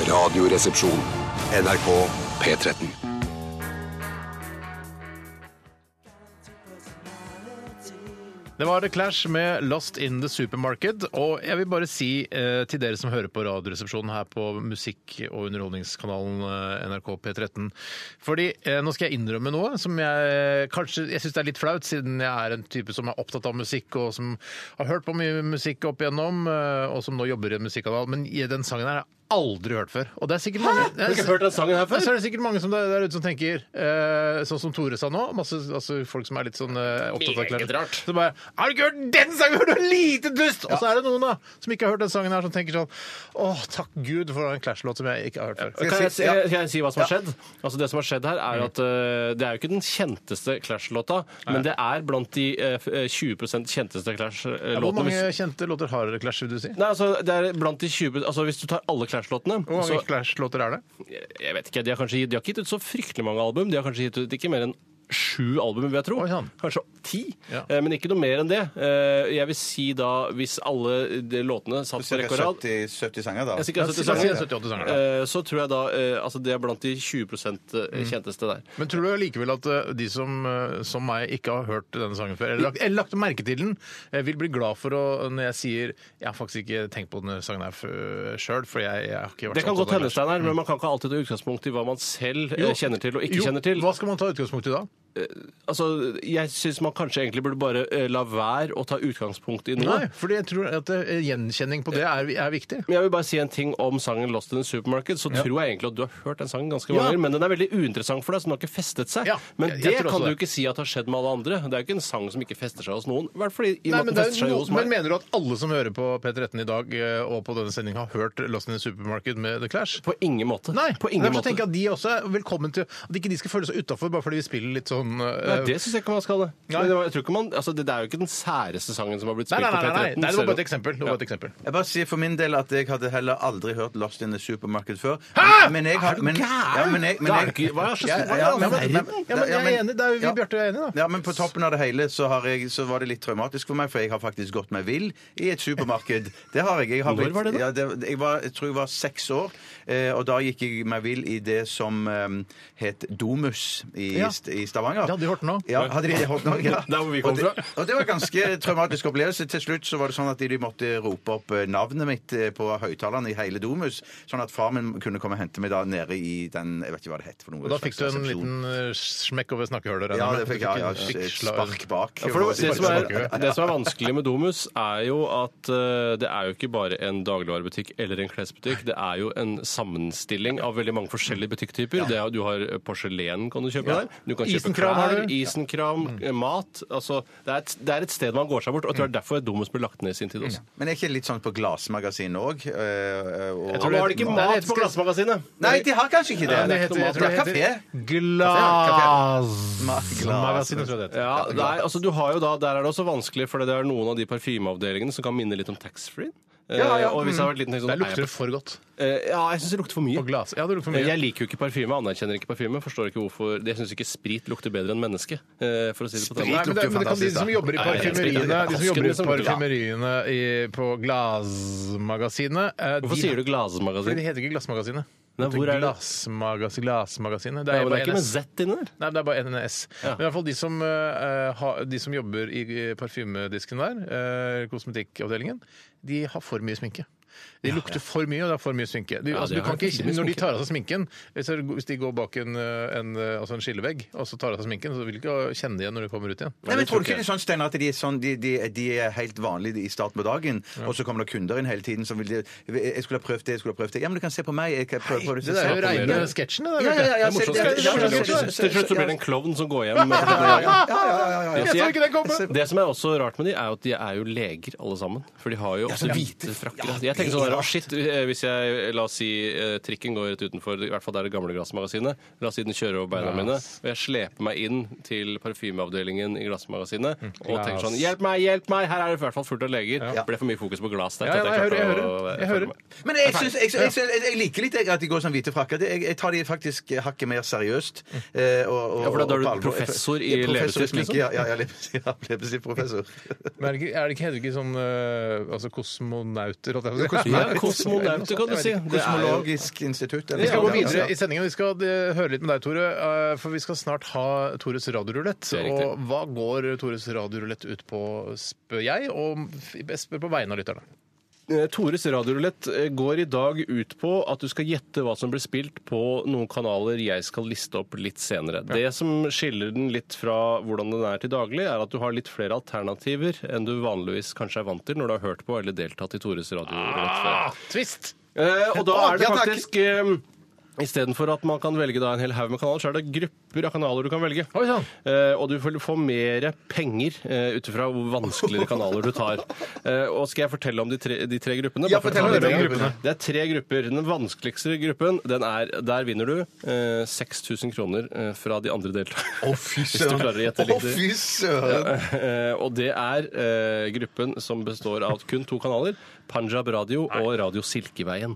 Radioresepsjon. NRK P13. Det var The Clash med Lost in the Supermarket. Og jeg vil bare si eh, til dere som hører på Radioresepsjonen her på musikk- og underholdningskanalen eh, NRK P13 Fordi eh, nå skal jeg innrømme noe som jeg kanskje jeg syns det er litt flaut, siden jeg er en type som er opptatt av musikk, og som har hørt på mye musikk opp igjennom, eh, og som nå jobber i en musikkanal. Men i den sangen her har jeg aldri hørt før. Og det er sikkert mange Har du ikke hørt den sangen her ja, Så før? er det sikkert mange som der, der ute som tenker, eh, sånn som Tore sa nå, masse altså, folk som er litt sånn eh, opptatt av Meget rart. Så bare Har du ikke hørt den sangen?! Har du lite dust?! Og så er det noen da som ikke har hørt den sangen her, som tenker sånn Åh, takk Gud for en Clash-låt som jeg ikke har hørt før. Kan jeg, si, Ja. kan jeg si hva som har skjedd? Altså Det som har skjedd her, er Mm. at eh, det er jo ikke den kjenteste Clash-låta, men det er blant de eh, f- eh, 20 kjenteste Hvor Clash-låtene. mange Hvis- kjente låter har dere Clash, vil du si? Nei, altså, det er blant de 20, altså Hvis du tar alle Clash-låtene Hvor mange så- Clash-låter er det? Jeg vet ikke, de har, kanskje, de har ikke gitt ut så fryktelig mange album. De har kanskje gitt ut ikke mer enn sju album, vil jeg tro. Oi, sann. Kanskje ti. Ja. Eh, Men ikke noe mer enn det. Eh, Jeg vil si da, hvis alle de låtene satt på Cirka rekke og rad 70, 70 sanger, da. Jeg sier ikke at det er La oss si sanger. 78 sanger, da. Eh, så tror jeg da eh, altså det er blant de 20 Mm. kjenteste der. Men tror du likevel at eh, de som, eh, som meg ikke har hørt denne sangen før, eller lagt, eller lagt merke til den, eh, vil bli glad for å, når jeg sier Jeg har faktisk ikke tenkt på denne sangen her sjøl, for jeg, jeg har ikke vært Det så kan opptatt godt av hende, Clash. Steinar, men man kan ikke alltid ta utgangspunkt i hva man selv Mm. eh, Jo. kjenner til og ikke Jo, kjenner til. Hva skal man ta utgangspunkt i da? Altså, Jeg syns man kanskje egentlig burde bare eh, la være å ta utgangspunkt i noe. Nei, fordi jeg tror at eh, gjenkjenning på det er, er viktig. Men jeg vil bare si en ting om sangen 'Lost in the Supermarket'. Så tror jeg egentlig at du har hørt den sangen ganske mange Ja. ganger, men den er veldig uinteressant for deg, så den har ikke festet seg. Ja, men jeg- det jeg tror kan også du det. ikke si at har skjedd med alle andre. Det er jo ikke en sang som ikke fester seg hos noen. I hvert fall i, i og Nei, med men, det at er den fester seg jo no, hos men meg. mener du at alle som hører på P13 i dag eh, og på denne sendingen har hørt Lost in the Supermarket med The Clash? På ingen måte. Nei, på ingen derfor måte. tenker jeg at de også er velkommen til At ikke de skal føle seg utafor bare fordi vi spiller litt sånn eh, Nei, det syns jeg ikke man skal. det. Nei. Men det var- Jeg tror ikke man, altså, det, det er jo ikke den særeste sangen som har blitt Nei, spilt nei, nei, nei, nei, på P13. nei, det var bare et selv om- eksempel. Det var bare et eksempel. Jeg bare sier for min del at jeg hadde heller aldri hørt Lost in the Supermarket før. Hæ? Men jeg har, men, ja, men jeg, men Det er jeg, ikke- hva er så- Ja, hva er ja, det men- all verden? men- Ja, men jeg er enig. Det er jo vi, ja. Bjarte, er enig, da. Ja, men på toppen av det hele så, har jeg, så var det litt traumatisk for meg, for jeg har faktisk gått meg vill i et supermarked. Det har jeg. jeg har Når var det da? Ja, det, jeg, var, jeg tror jeg var seks år, eh, og da gikk jeg meg vill i det som eh, het Domus i, Ja. i Stavanger. Det hadde de hørt nå. Ja, hadde de hørt nå, ja. Der hvor vi og kom det, fra. og det var en ganske traumatisk opplevelse. Til slutt så var det sånn at de måtte rope opp eh, navnet mitt eh, på høyttalerne i hele Domus, sånn at far min kunne komme og hente meg da nede i den, jeg vet ikke hva det het for noe. Og da fikk du slags en resepsjon. liten eh, smekk over snakkehølet. regner Ja, jeg med. det fikk Du jeg. Ja, en- fikk et slag- spark bak. Ja, for det, det, som Smaker er, det som er vanskelig med Domus, er jo at eh, det er jo ikke bare en dagligvarebutikk eller en klesbutikk. Det er jo en sammenstilling av veldig mange forskjellige butikktyper. Det er, du har eh, porselen kan du kjøpe der. Du kan kjøpe Isenkram har du. Mm. isenkram, eh, mat. Altså, det, er et, det er et sted man går seg bort, og jeg tror det er derfor Domus ble lagt ned i sin tid også. Men er ikke litt sånn på Glassmagasinet Eh, òg? Jeg tror det, ikke Nei, mat det på heter- Glassmagasinet. Nei, de har kanskje ikke det. Ja, det heter, jeg tror det Kafé. heter Kafé. Glassmagasinet, tror jeg det heter. Ja, nei, altså du har jo da, Der er det også vanskelig, for det er noen av de parfymeavdelingene som kan minne litt om taxfree. Eh, Ja, ja, og hvis jeg har vært liten, tenkt sånn, Der lukter er det for godt. jeg på- Eh, Ja, jeg syns det lukter for mye. På glass. Ja, det lukter for Men mye. Jeg liker jo ikke parfyme, anerkjenner ikke parfyme. Forstår ikke hvorfor Jeg syns ikke sprit lukter bedre enn menneske, eh, for å si det på Nei, men det, Sprit? lukter jo den måten. men det kan de fantastisk, som da. jobber i Nei, det er parfymeriene, sprit. de som jobber i Asken, liksom. parfymeriene i, på Glassmagasinet eh, Hvorfor de- sier Fordi du det glassmagasin? heter ikke Glassmagasinet. Nei, Det hvor er det? Glassmagas glassmagasinet. Det Ja, er men bare det er ikke med NS. Z inni der. Nei, det er bare NNS. Men i hvert fall de som, eh, har- de som jobber i eh, parfymedisken der, eh, kosmetikkavdelingen, de har for mye sminke. De lukter for mye, og det er for mye sminke. Du, Ja, altså, du det kan er veldig ikke, mye når de sminke. tar av seg sminken, hvis de- hvis de går bak en, eh, en, eh, altså en skillevegg og så tar av seg sminken, så vil de ikke kjenne igjen når de kommer ut igjen. Nei, men Tror du ikke det er sånn, Steinar, at de er, sånn, de, de, de er helt vanlige i starten på dagen, og så kommer det kunder inn hele tiden som vil de, 'Jeg skulle ha prøvd det, jeg skulle ha prøvd det.' Ja, men du kan se på meg. Jeg kan prøve, prøve det. Det er jo Se på reine meg. sketsjene. det, Ja, ja, ja, Bjarte. ja, Det er morsomt. Det se- er morsomt. ja, ja, ja, ja. Til slutt så blir det en klovn som går hjem. med det. Ja, ja, ja, ja, ja. Jeg så ikke det komme! Det som er også rart med de, er jo at de er jo leger alle sammen. For de har jo også hvite frakker. jeg tenker sånn der, å shit, eh, hvis jeg, la oss si eh, trikken går rett utenfor, i hvert fall der det gamle glassmagasinet, la oss si den kjører over beina mine, og jeg sleper meg inn til parfymeavdelingen i glassmagasinet Mm. og Glass. tenker sånn, hjelp meg, hjelp meg, her er det i hvert fall fullt av leger. Det ble for mye fokus på glass der. Ja, ja, til at jeg hører, jeg klarte å- eh, hører. Jeg hører. Men jeg, synes, jeg, jeg, jeg, jeg liker litt jeg, at de går som hvite frakker. Det- Jeg, jeg tar de faktisk hakket mer seriøst. eh, og- og- Ja, for da- da er og du på alvor. professor i Ja, professor leppestift, sminke, liksom? Ja, ja, ja, leppestift- ja, leppestiftprofessor. Men er det ikke, er det ikke heller ikke sånn eh, altså kosmonauter? holdt jeg på å si? Ja, kosmonauter, kan du si. Det er jo Kosmologisk institutt. Vi skal Ja, gå ja, ja. videre i sendingen. Vi skal eh, høre litt med deg, Tore. eh, For vi skal snart ha Tores radiorulett. Det er riktig. Og hva går Tores radiorulett ut på, spør jeg, og jeg spør på vegne av lytterne. Eh, Tores radiorulett eh, går i dag ut på at du skal gjette hva som blir spilt på noen kanaler jeg skal liste opp litt senere. Det som skiller den litt fra hvordan den er til daglig, er at du har litt flere alternativer enn du vanligvis kanskje er vant til når du har hørt på eller deltatt i Tores radiorulett før. Ah, twist! Eh, og da Å, er det ja, takk. faktisk eh, Istedenfor at man kan velge da en hel haug med kanaler, så er det grupper av kanaler du kan velge. Oi, sånn. sann. Eh, og du vil få mer penger eh, ut ifra hvor vanskeligere kanaler du tar. Eh, og skal jeg fortelle om de tre, de tre gruppene? Ja, Bare for å fortell ta om det de med. gruppene. Det er tre grupper. Den vanskeligste gruppen, den er, der vinner du eh, 6000 kroner eh, fra de andre deltakerne. Å, fy Hvis du klarer å gjette Å, riktig. fy søren! Eh, og det er eh, gruppen som består av kun to kanaler, Panjab Radio og Radio Silkeveien.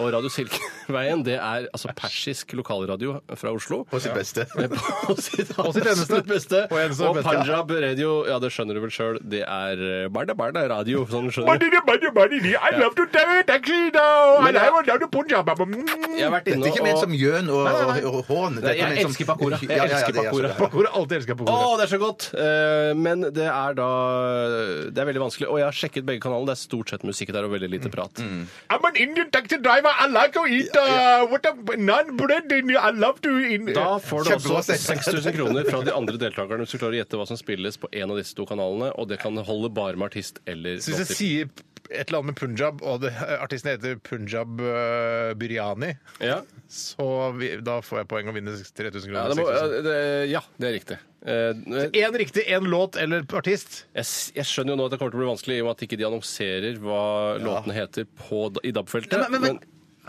Og Radio Silkeveien det er altså persisk lokalradio fra Oslo. På sitt beste. Eh, På sitt, sitt eneste. absolutt beste. På eneste Og beste. Panjab radio, ja det skjønner du vel sjøl, det er eh, barna barna radio. Sånn skjønner du. I love to do it, actually, though. I love to do Punjab. Jeg har vært Dette er inne ikke ment som og gjøn og, og, og hån. Dette Nei, er jeg ment som- elsker pakora. Jeg Ja, ja, ja, elsker det er pakora. sånn det er. Pakora, alltid elsker å, pakora. det er så godt! Eh, Men det er da Det er veldig vanskelig. Og jeg har sjekket begge kanalene. Det er stort sett musikk der og veldig lite prat. I'm an Indian taxi driver. I like to eat uh, what a naan bread in I love to eat. Da får du Kjempebra også sett. 6000 kroner fra de andre deltakerne hvis du klarer å gjette hva som spilles på en av disse to kanalene, og det kan holde bare med artist eller Så hvis jeg låttitel. sier et eller annet med Punjab, og det, artisten heter Punjab eh, Biryani, Ja. så vi, da får jeg poeng og vinner 3000 Ja, kroner. det må, 6000. ja, det, ja, det er riktig. Eh, Én riktig, én låt eller artist. Jeg, s- jeg skjønner jo nå at det kommer til å bli vanskelig i og med at ikke de annonserer hva låtene heter på, da- i DAB-feltet, Nei, men- men-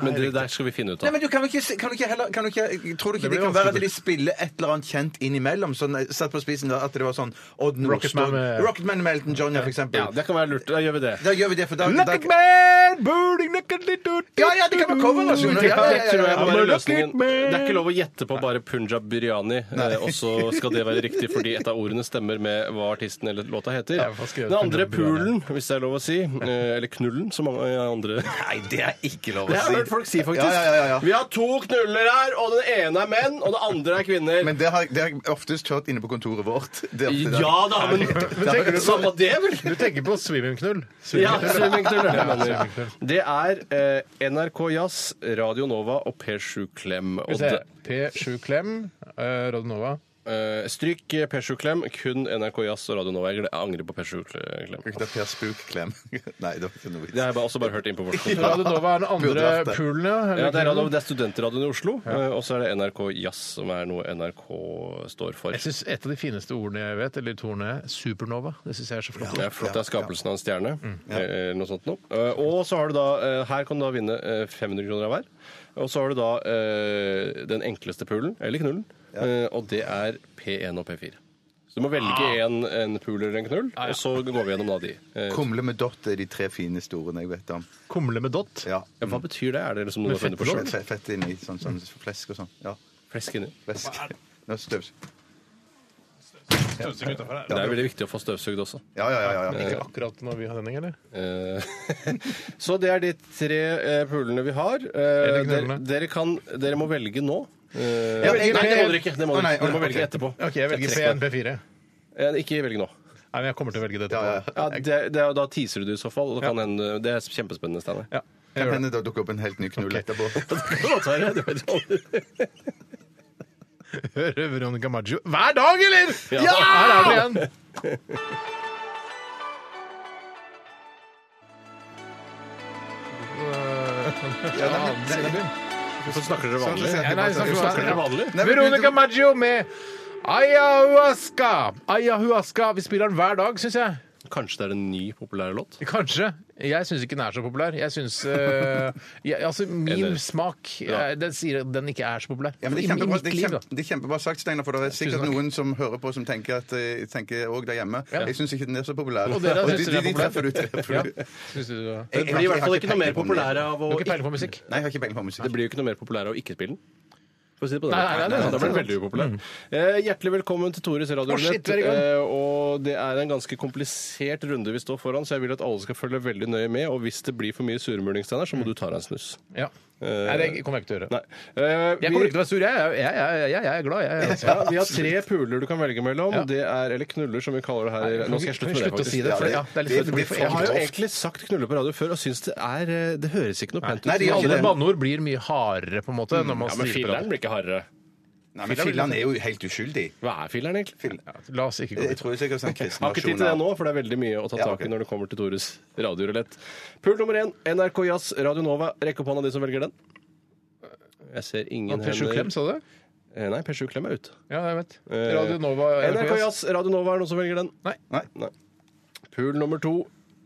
men det der skal vi finne ut Nei, av. men du kan jo ikke, kan du ikke heller kan du ikke, Tror du ikke det, blir kan være at vanskelig. de spiller et eller annet kjent innimellom? Sånn, eh, satt på spissen da, at det var sånn Odd Rocketman Nordstoga med- Rocketman med Elton John, ja, for eksempel. Ja, det kan være lurt. Da gjør vi det. Da gjør vi det, for da, da Lucky man, burning lucky little Ja, ja, det kan være coverversjonen. Det Ja, ja, ja, tror ja, jeg ja. må være Men look løsningen. at me. Det er ikke lov å gjette på bare Punjab biryani, eh, og så skal det være riktig fordi et av ordene stemmer med hva artisten eller låta heter. jeg får skrive Den andre Punjab biryani. pulen, hvis det er lov å si, eh, eller knullen, som mange andre Nei, det er ikke lov Det har jeg hørt folk si, faktisk. Ja, ja, ja, ja. Vi har to knuller her, og den ene er menn, og den andre er kvinner. Men det har, det har jeg oftest hørt inne på kontoret vårt. Det er ofte det. ja da, men, samme det, vel? Du tenker på swimmingknull. Ja, Swimmingknull. svømmingknull. Ja, mener jeg. svømmingknull. Det er eh, NRK Jazz, Radio Nova og P7 Klem. Og Skal vi det, se. P7 Klem, eh, Radio Nova. eh, stryk eh, P7 Klem, kun NRK Jazz og Radio Nova. Jeg gle- angrer på P7 Klem. Det er Per Spook-klem. Nei, det var ikke noe Det vits. har jeg bare- også bare hørt inn på vårt kontor. Radio Nova er den Burde vært andre det. poolen, ja. Ja, det er, radio, det er studentradioen i Oslo, eh, og så er det NRK Jazz, som er noe NRK står for. Jeg syns et av de fineste ordene jeg vet, eller to ordene, er supernova. Det syns jeg er så flott. Det er flott. Det er skapelsen av en stjerne. Eller noe sånt noe. Eh, Og så har du da eh, Her kan du da vinne eh, 500 kroner av hver. Og så har du da eh, den enkleste poolen, eller knullen, eh, og det er P1 og P4. Så du må velge en, en pool eller en knull, og så går vi gjennom da de. Eh, Kumle med dott er de tre fineste ordene jeg vet om. Kumle med dott. Ja. ja, Hva betyr det? Er det liksom noe du har funnet på Fett- sjøl? Fett, fett inni sånn, sånn flesk og sånn. Ja. Flesk inni. Flesk. Nå støvs. Det er veldig viktig å få støvsugd også. Ja, ja, ja. ja, ja. Ikke akkurat når vi har sending, eller? Eh, så det er de tre eh, poolene vi har. Eh, Eller dere, knullene. dere, kan, dere må velge nå. Eh, Jeg nei, velger det P- må dere ikke. Det må Å, dere, nei, ikke. dere må ok. velge etterpå. OK, jeg velger trekker P1, P4. Eh, Ikke velg nå. Nei, men jeg kommer til å velge det Ja, ja, etterpå. ja. Ja, det, det, er- da teaser du det i så fall. Og det, kan hende, det er kjempespennende, Steinar. Ja. jeg Kan gjør det. hende det dukker opp en helt ny knull etterpå. Hører Veronica Maggio hver dag, eller?! Ja! Her er den igjen! Ja, nei, men- Hvorfor snakker dere vanlig? Sånn, Ja, nei, snakker sånn, vanlig. sånn. Snakker dere vanlig? Nei, men- Veronica Maggio med Ayahuasca. Ayahuasca. Vi spiller den hver dag, syns jeg. Kanskje det er en ny populær låt? Kanskje. Jeg syns ikke den er så populær. Jeg synes, eh, jeg, altså, Min Eller- smak Ja. eh, den sier at den ikke er så populær. Ja, men det I- er I kjempebra, mitt det er liv, da. kjempe, det er kjempebra sagt, Steinar, for det er sikkert tusen takk. noen som hører på som tenker at eh, tenker òg der hjemme. Jeg syns ikke den er så populær. Og dere de, synes de, den er de populær? treffer du. Treffer Ja. du. Synes du det? Jeg- Det jeg blir har i hvert fall jeg ikke har noe mer peiling på den. populær av å Du har ikke peiling på musikk? Nei, jeg har ikke peiling på musikk. Det blir jo ikke noe mer populær av å ikke spille den. For å si det på den Nei, nei, måten. nei, nei, da blir den veldig upopulær. Eh, hjertelig velkommen til Tores Mm. Å, shit, radiorulett. vi er i gang. eh, og og det er en ganske komplisert runde vi står foran, så jeg vil at alle skal følge veldig nøye med. Og hvis det blir for mye surmuling, Steinar, så må du ta deg en snus. Ja. Nei, det kommer jeg ikke til å gjøre. Eh, Nei. Eh, Jeg kommer ikke til å være sur. Jeg, er- jeg, jeg, jeg, jeg er glad, jeg. altså. ja, vi har tre puler du kan velge mellom. Ja. Det er, eller knuller, som vi kaller det her. Nå skal jeg slutte med det, Slutt å si faktisk. det. For, ja, det er litt, Det det blir blir for, Jeg har jo Ofte. egentlig sagt knuller på radio før og syns det er eh, Det høres ikke noe pent ut. Nei, det gjør alle ikke det. banneord blir mye hardere, på en måte. Når man Ja, sier men det. filleren blir ikke hardere. Nei, men Finland er jo helt uskyldig. Hva er filleren, egentlig? La oss ikke gå Jeg dit. tror sikkert sånn Jeg har ikke tid til det kristennasjoner nå, for det er veldig mye å ta Ja, tak i ok. når det kommer til Tores radiorulett. Pul nummer én, NRK Jazz, Radio Nova. Rekk opp hånda de som velger den. Jeg ser ingen Per Sjuklem, sa du? Eh, Nei, Per Sjuklem er ute. Ja, jeg vet. Eh, Radio Nova NRK Jazz, Radio Nova er det noen som velger den. Nei. Nei. Pul nummer to,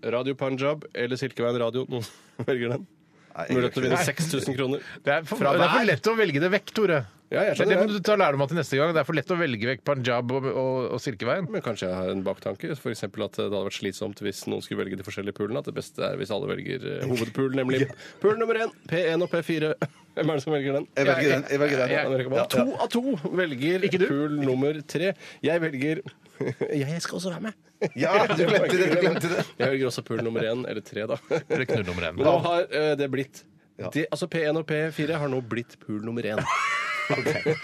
Radio Punjab eller Silkeveien Radio. Noen som velger den. Nei, jeg gjør Mulighet til å vinne ikke det. 6000 kroner. Det er, for, Fra det er for hver? lett å velge det vekk, Tore. Ja, jeg Det, det skjønner må du det. ta lærdom av til neste gang. Det er for lett å velge vekk Panjab og, og, og Silkeveien. Men kanskje jeg har en baktanke. F.eks. at det hadde vært slitsomt hvis noen skulle velge de forskjellige pulene. At det beste er hvis alle velger eh, hovedpul, nemlig pul nummer én, P1 og P4. Hvem er det som velger den? Jeg velger den. Jeg velger den. Jeg- Henrik Boll. To av to velger pul nummer tre. Jeg velger Jeg skal også være med. Ja, du glemte det! Du glemte det. Jeg velger også pul nummer én, eller tre, da. Eller knull nummer én. Men nå har eh, det blitt det, altså P1 og P4 har nå blitt pul nummer én.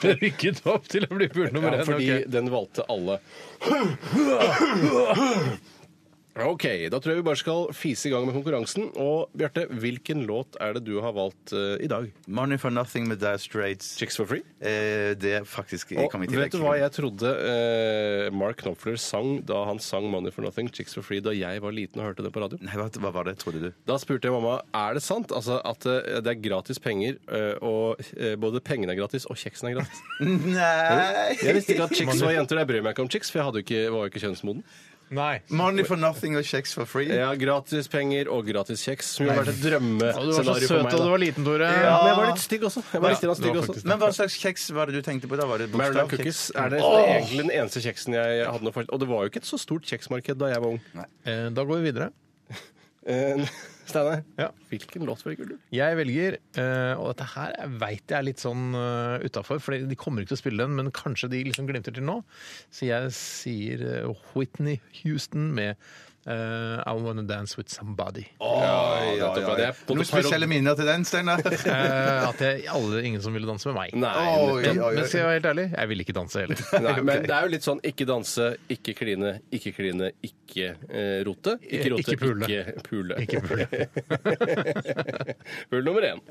Det rykket opp til å bli pult nummer Ja, én. fordi ok. den valgte alle. OK, da tror jeg vi bare skal fise i gang med konkurransen. Og Bjarte, hvilken låt er det du har valgt eh, i dag? Money for nothing med Dire Straits. Chicks for free? Eh, det er faktisk jeg Og kom i tillegg. vet du hva jeg trodde eh, Mark Knopfler sang da han sang 'Money for Nothing', 'Chicks for Free', da jeg var liten og hørte det på radio? Nei, hva, hva var det, trodde du? Da spurte jeg mamma er det sant altså, at eh, det er gratis penger, eh, og eh, både pengene er gratis og kjeksen er gratis. Nei! Jeg visste ikke at chicks var jenter, og jeg bryr meg ikke om chicks, for jeg hadde jo ikke, var jo ikke kjønnsmoden. Nei. Money for nothing og kjeks for free. Ja, gratis penger og gratis kjeks, som jo har vært Å, et Du var så drømmescenario søt for meg. da du Da. var liten, Tore. Ja, men jeg var litt stygg også. Jeg var litt du stygg var også. faktisk- Men hva slags kjeks var det du tenkte på da? Var det bokstav? Maryland Cookies er det egentlig den eneste kjeksen jeg hadde noe for. Og det var jo ikke et så stort kjeksmarked da jeg var ung. Eh, Da går vi videre. Eh, Steinar, Ja. hvilken låt velger du? Jeg velger, eh, og dette her veit jeg er litt sånn uh, utafor, for de kommer ikke til å spille den, men kanskje de liksom glimter til nå. Så jeg sier eh, Whitney Houston med eh, I Wanna Dance With Somebody. ja, ja, ja. Det er på en Noen måte parod- spesielle minner til den, Steinar? Eh, at jeg, alle, ingen som ville danse med meg. Nei, Oi, Men, oi, oi. men skal jeg være helt ærlig, jeg ville ikke danse heller. Nei, men det er jo litt sånn ikke danse, ikke kline, ikke kline, ikke eh, rote. Ikke rote, Ikke pule. Ikke pule. Ikke burde jeg. Hull nummer én.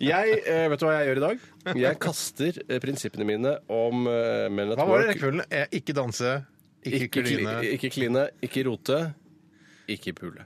Jeg, eh, vet du hva jeg gjør i dag? Jeg kaster eh, prinsippene mine om eh, Men at Hva var det i Work- rekkefølgen? Eh, Ikke danse, ikke, Ikke kline. kline, ikke, kline, ikke rote, ikke pule.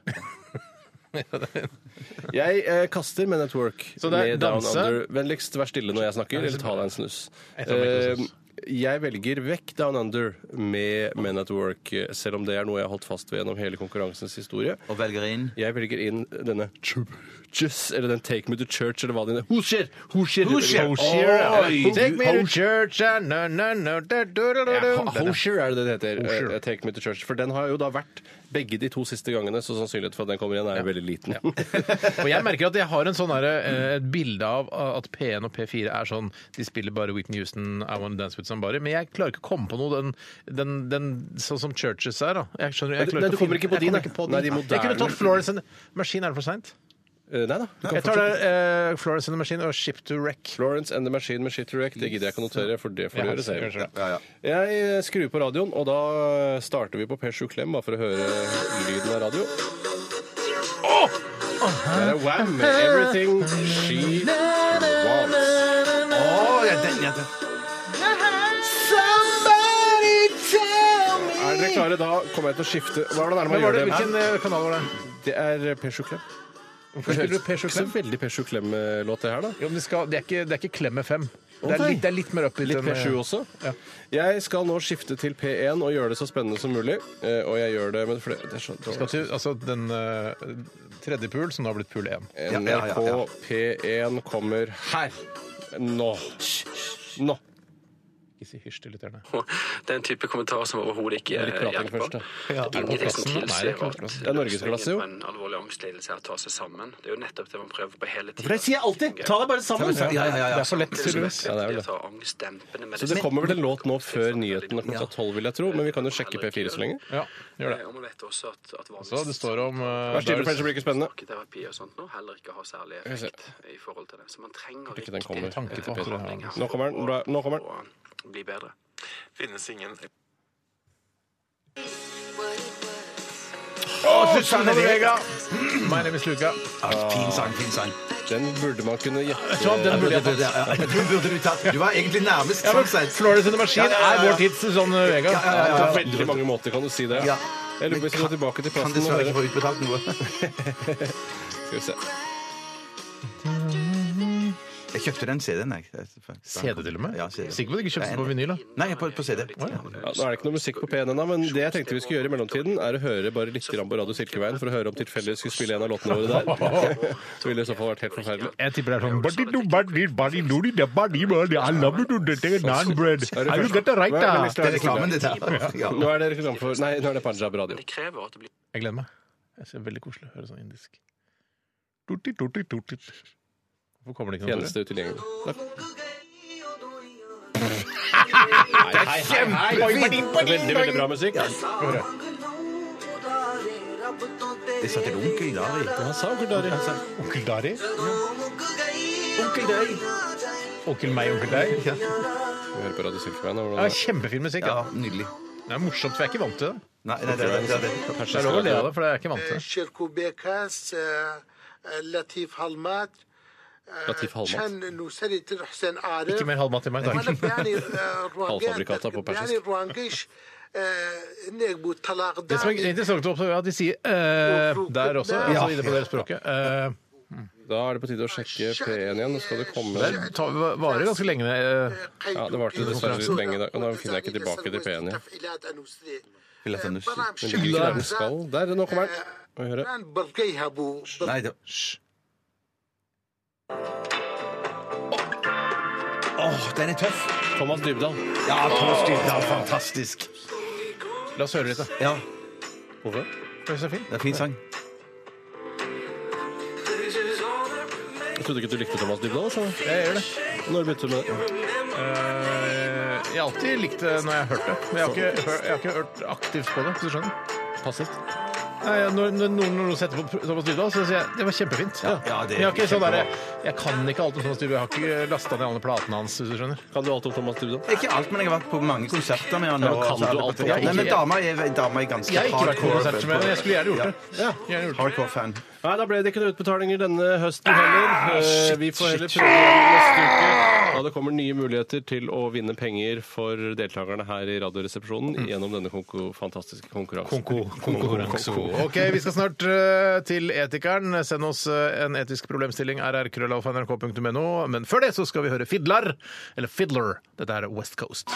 Jeg eh, kaster med Network. Så det er med Down danse? Under. Vennligst vær stille når jeg snakker, eller ta deg en snus. Jeg tar meg ikke en Eh, snus. jeg velger vekk Down Under med Men at Work, eh, selv om det er noe jeg har holdt fast ved gjennom hele konkurransens historie. Og velger inn. Jeg velger inn denne Churches, eller den Take Me To Church, eller hva det er. Hoosier! Hoosier! Hoosier. Oi! Take me to church and no, no, no, da, da, da, da, Ja, da. Ho- Hoosier er det det heter. Hoosier. eh, Take Me To Church. For den har jo da vært begge de to siste gangene, så sannsynligheten for at den kommer igjen er jo veldig liten. Og jeg merker at jeg har en sånn her, eh, et bilde av at P1 og P4 er sånn De spiller bare Whitney Houston, I Wanna Dance With Somebody. Men jeg klarer ikke å komme på noe den, den, den sånn som Churches er. da. Jeg skjønner, jeg Nei, klarer du å kommer finne- ikke på de, jeg nei. kommer ikke på Nei, de de. moderne. Jeg kunne tatt Florence and Machine. Er det for seint? Eh, Nei da. Jeg tar det, eh, Florence and the Machine og Ship to Wreck. Florence and the Machine med Shit Wreck. Det gidder jeg ikke å notere, for det får du Ja, gjøre selv. gjør Ja, ja. Jeg skrur på radioen, og da starter vi på Per7 Klem, bare for å høre lyden av radio. Det er Wham! med Everything She Wants. Å, ja, den, ja, den. Er dere klare? Da kommer jeg til å skifte. Hvordan er det man Men var det, gjør det? hvilken eh, kanal var det? Det er Per7 Klem. Hvorfor spiller du P7 Ikke så Klem? veldig Per7 Klem-låt, det her, da. Jo, men det, skal, det, er ikke, det er ikke Klem med fem. Det er nei. litt, det er litt mer opp i eh, Litt P7 også. Jeg skal nå skifte til P1 og gjøre det så spennende som mulig. Eh, Og jeg gjør det med flere det er så Skal dårlig. til, altså den eh, tredje pul, som da har blitt pul én. Ja, ja, ja, ja. E NRK P1 kommer her. Nå. Nå. Ikke si hysj til lytterne. Det er en type kommentar som overhodet ikke Litt eh, prating først, hjelper. da. Ingenting som Nei, det er tilsier klart. at Det er norgesklasse, jo. løsningen på en alvorlig angstlidelse er å ta seg sammen. Det er jo nettopp det man prøver på hele For det tiden. sier jeg alltid! Ta deg bare sammen! Ja, ja, ja. Det er for lett, Det er tydeligvis. liksom Ja, det er vel viktig det. å ta Så angstdempende det medisin. kommer vel en låt nå før nyhetene klokka tolv, vil jeg tro. Men vi kan jo sjekke P4 så lenge. Ja, gjør det. Eh, Og man vet også at, at vanligvis Så det står om eh, Vær stille, for ellers Dars- blir det ikke spennende. terapi og sånt nå heller ikke har særlig vi se. effekt i forhold til det. Så man trenger ikke den kommer. riktig, eh, Tanke til Peter. behandling her Nå kommer den. for Bra. å- Nå kommer den. for å Bli bedre. Susanne Vega! My name is Luca. Fin sang, fin sang. Den burde man kunne gjette. Tom, den burde jeg tatt. Ja, ja, ja. Du burde du tatt. Du var egentlig nærmest Ja, men sånn sett. Florence and the Machine Ja, ja, ja, er ja. vår tids Susanne Vega. ja, ja, På veldig mange måter kan du si det. Ja. Jeg lurer på hvis vi går tilbake til Kan plassen og dessverre ikke få hører. utbetalt noe. Skal vi se. Jeg kjøpte den CD-en, jeg. CD til og med? Ja, CD. Sikker på at du ikke kjøpte den på vinyl? da? Nei, på, på CD. Ja, nå er det ikke noe musikk på P1 ennå, men det jeg tenkte vi skulle gjøre i mellomtiden, er å høre bare litt grann på Radio Silkeveien for å høre om tilfeldig skulle spille en av låtene våre der. Så ville det i så fall vært helt forferdelig. Jeg tipper det er sånn "Badi do, badi, badi do, di, da, badi, badi, I love you, do, di, di, naan bread. I will get the right, da." Nå Det er er det reklamen, reklame. dette her. Ja. Nå er det reklame for Nei, nå er det Punjab Radio. Det krever at det blir Jeg gleder meg. Jeg synes det er veldig koselig å høre sånn indisk. Tutti, tutti, tutti. Hvorfor kommer det ikke noe? Tjeneste utilgjengelig. Takk. Veldig, veldig bra musikk. Det satt en onkel i dag. i. Han sa onkel Dari. Onkel Dari? Onkel meg, onkel deg? Ja. Vi hører på Radio Silkeveien. og Ja, hvordan det kjempefin musikk. Ja, Ja. nydelig. Det er morsomt, for jeg er ikke vant til det. Nei, nei, det, det, det, det. Det er lov å le av det, for jeg er ikke vant til det. شيركوبيك هاس آه، آه، لطيف هلمات آه، لطيف هلمات. كان نوسري تحسن عارف Ikke mer halvmat til meg, وانا takk. يعني آه، الروانجان- الفابريكات أبو باشا. يعني الروانجيش آه، انك بطلاق Det som er داري interessant å observere, er at de sier eh, der også, altså i det på deres språket. Eh, Da er det på tide å sjekke P1 igjen. Nå skal det komme det tar- varer ganske lenge. eh, Ja, det varte dessverre litt lenge i dag, og da finner jeg ikke tilbake til P1 igjen. Filet av nuss. Den ligger ikke der den skal. Der, nå kommer den. Må vi høre. Nei, det Hysj. Åh, den er tøff! Thomas Dybdahl. Ja, Thomas Dybdahl, fantastisk. La oss høre litt, da. Ja, Hvorfor? Det er så fint. det er en fin sang. Jeg trodde ikke du likte Thomas Dybdahl. Så. Jeg gjør det. Når begynte du med det? Eh, jeg har alltid likt det når jeg har hørt det. Men jeg har ikke, hør- jeg har ikke hørt aktivt på det. hvis du skjønner. Passivt? Nei, ja, når, når noen, når noen setter på Thomas Dybdahl, så sier jeg det var kjempefint. ja, det er Men jeg, har ikke sånn kjempebra. derre- jeg kan ikke alt om Thomas Dybdahl. Jeg har ikke lasta ned alle platene hans. hvis du skjønner. Kan du alt om Thomas Dybdahl? Ikke alt, men jeg har vært på mange konserter med han. Ja, og- kan du alt på- Ja, Nei, men dama er, dama er ganske Jeg har ikke vært på konsert som jeg, men jeg skulle gjerne gjort det. Ja. Gjerne gjort det. Hardcore fan. Nei, da ble det ikke noen utbetalinger denne høsten heller. Ah, Eh, vi får heller prøve igjen neste uke. Da det kommer nye muligheter til å vinne penger for deltakerne her i Radioresepsjonen Mm. gjennom denne konko fantastiske konkurransen. Konkurranse. OK, vi skal snart eh, til Etikeren. Send oss eh, en etisk problemstilling, rrkrøllalfa.nrk.no. Men før det så skal vi høre Fidlar, eller Fiddler. Dette er West Coast.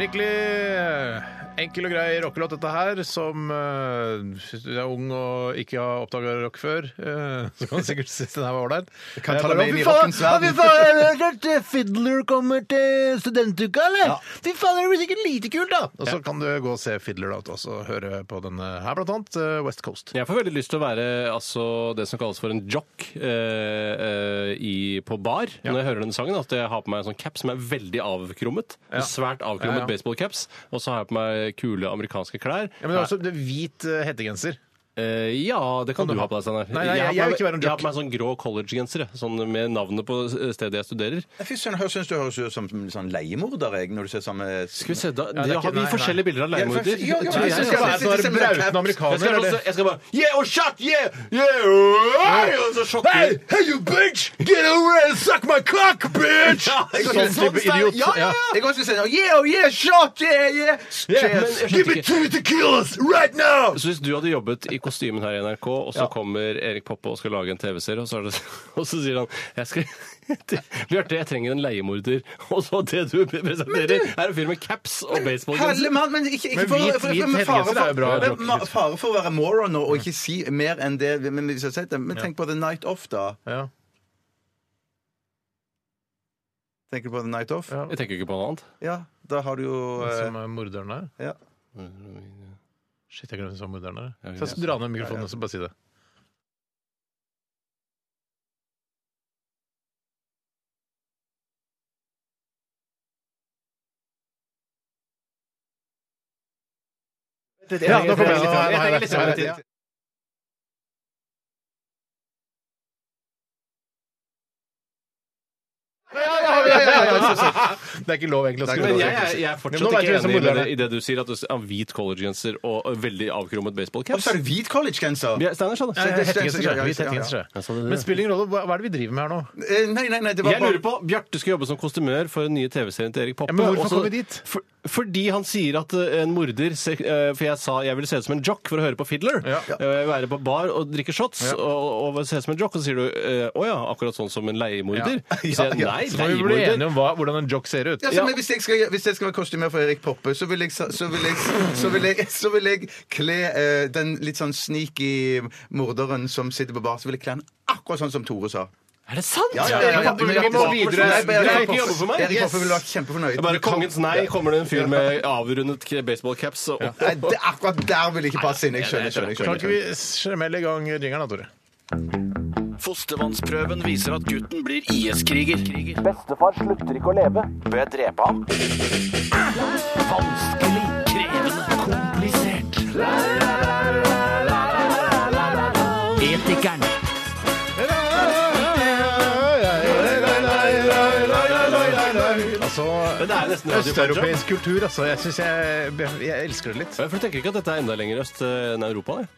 Skikkelig eh, enkel og grei rockelåt, dette her, som eh, hvis du er ung og ikke har oppdaga rock før, eh, så kan du sikkert synes den her var ålreit. kan Jeg ta bare, «Å, deg med inn fy i faen, rockens å, verden». fy faen, jeg har hørt at eh, Fiddler kommer til studentuka, eller? Fy faen, det blir sikkert lite kult, da! Og så kan du gå og se Fiddler da, og høre på denne her, blant annet. eh, West Coast. Jeg får veldig lyst til å være altså, det som kalles for en jock eh, eh, i, på bar når jeg hører denne sangen. At jeg har på meg en sånn cap som er veldig avkrummet. En Svært avkrummet Ja, ja. baseballcaps. Og så har jeg på meg kule amerikanske klær. Ja, men det er også det er hvit eh, hettegenser. Eh, ja, det kan du ha på deg, Steinar. Nei, nei, jeg- har jeg på vil meg- ikke være en Jeg har jock. på meg sånn grå collegegenser jeg, sånn med navnet på stedet jeg studerer. Fy søren, jeg syns du høres ut som en sånn leiemorder, jeg, når du ser samme Skal vi se, da, det er da ikke- har vi nei, nei. forskjellige bilder av leiemorder. Ja, ja, ja, Tror jeg. jeg Jeg synes skal det være er- sånn det er- brauten Jeg skal, amerikaner. bare, eller- jeg skal bare Yeah, oh shot, yeah! Yeah! oh, Og så sjokker Hey, hey, you bitch! Get over and suck my cock, bitch! Sånn type idiot. Ja, ja, ja! Jeg også skal si noe. Yeah, oh, yeah, shot, yeah, yeah! men Cheers. jeg skjønte ikke. two tequilas right now! Så hvis du hadde jobbet i kostymen her i NRK, og så kommer Erik Poppe og skal lage en TV-serie, og, så er det- og så sier han jeg skal, Bjarte, jeg trenger en leiemorder. Og så det du presenterer, er en fyr med caps og baseballgenser. Helle mann, men ikke, ikke Men for, hvit- for, for, hvit men fare hettegenser for- er jo bra, men Jokke. ma- Fare for å være moron og, og ikke si mer enn det men, hvis jeg har sett det. Men tenk på The Night Off, da. Ja. Tenker du på The Night Off? Ja, Ja. Jeg tenker ikke på noe annet. da har du jo eh, Som er morderen der. ja. Shit, jeg glemte hvem som var morderen der. Ja, Så jeg skal dra ned mikrofonen Ja, ja. og så bare si det. Ja, nå kommer jeg. Nå har jeg- nå har jeg det. Nå har jeg det. Det er ikke lov egentlig å skru Men Men av. jeg, jeg, jeg er Men nå fortsatt vet vi ikke hvem som enig med morderen det, i det du sier, at du s- har hvit collegegenser og og veldig avkrummet Og baseballcaps. så er det hvit collegegenser! Vi er- Steinar sa Nei, det. det er hettegenser, ja. Hvit hettegenser, ja. Jeg sa det, Men det. spiller ingen rolle. Hva hva er det vi driver med her nå? Eh, Nei, nei, nei, det var Jeg lurer på, Bjarte skal jobbe som kostymør for den nye TV-serien til Erik Poppe. Ja, men hvorfor og så- kom vi dit? For, fordi han sier at eh, en morder ser- eh, For jeg sa jeg ville se ut som en jock for å høre på Fiddler. Ja. Eh, Være på bar og drikke shots og, og se ut som en jock. Og så sier du eh, å ja, akkurat sånn som en leiemorder. Ja. Så sier jeg nei, Så må vi bli leiemorder. enige om hva, hvordan en jock ser ut. Ja, så, men hvis, jeg skal, hvis jeg skal være kostymer for Erik Poppe, så vil jeg, så vil jeg, så vil jeg, så vil jeg kle eh, den litt sånn sneaky morderen som sitter på bar, så vil jeg kle han akkurat sånn som Tore sa. Er det sant? Ja, ja, ja, ja, Erik ja. Poppe, Men Vi Erik må Poppe- videre. Nei, men Du kan Erik ikke jobbe Poppe- for meg. Erik Poppe ville vært kjempefornøyd. Det er Bare kongens nei kommer det en fyr med avrundet baseballcaps og Nei, det, akkurat der vil jeg ikke passe inn. Jeg skjønner. skjønner, Kan skjønner, ikke vi smelle i gang jingeren da, Tore? Fostervannsprøven viser at gutten blir IS-kriger. Bestefar slutter ikke å leve. Bør jeg drepe ham? Vanskelig, krevende, komplisert. Etikeren. Altså, Men det er nesten Radio Punjab. Østeuropeisk kultur, altså. Jeg syns jeg, jeg elsker det litt. For jeg tenker ikke at dette er enda lenger øst eh, enn Europa. jeg.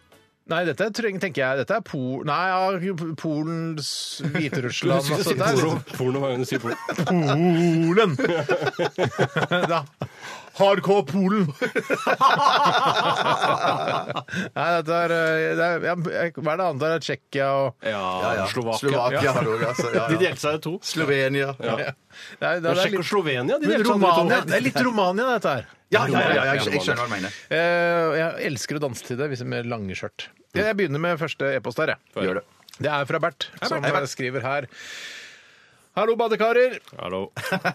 Nei, dette er, treng- tenker jeg Dette er Pol... Nei, ja, Polen, s- Du Hviterussland husker ikke å si det er porno. Porno var jo en si porno. Polen! da. Hardcore Polen! Nei, dette er, eh, det er ja, Hva er det andre? Tsjekkia og Ja, Ja, Slovakia. Slovakia har du også, altså. Ja, De ja. delte seg i to. Slovenia. Ja, ja, Nei, det, Men er Tsjekk og litt, Slovenia de men delte seg i Romania, to. det er litt Romania, dette her. ja, ja, ja, jeg, jeg skjønner hva du mener. Eh, Jeg elsker å danse til det hvis- med lange skjørt. Jeg begynner med første e-post her. jeg. Gjør det. Det er fra Bert, som Hei, Bert. skriver her. Hallo, badekarer. Hallo. Hørt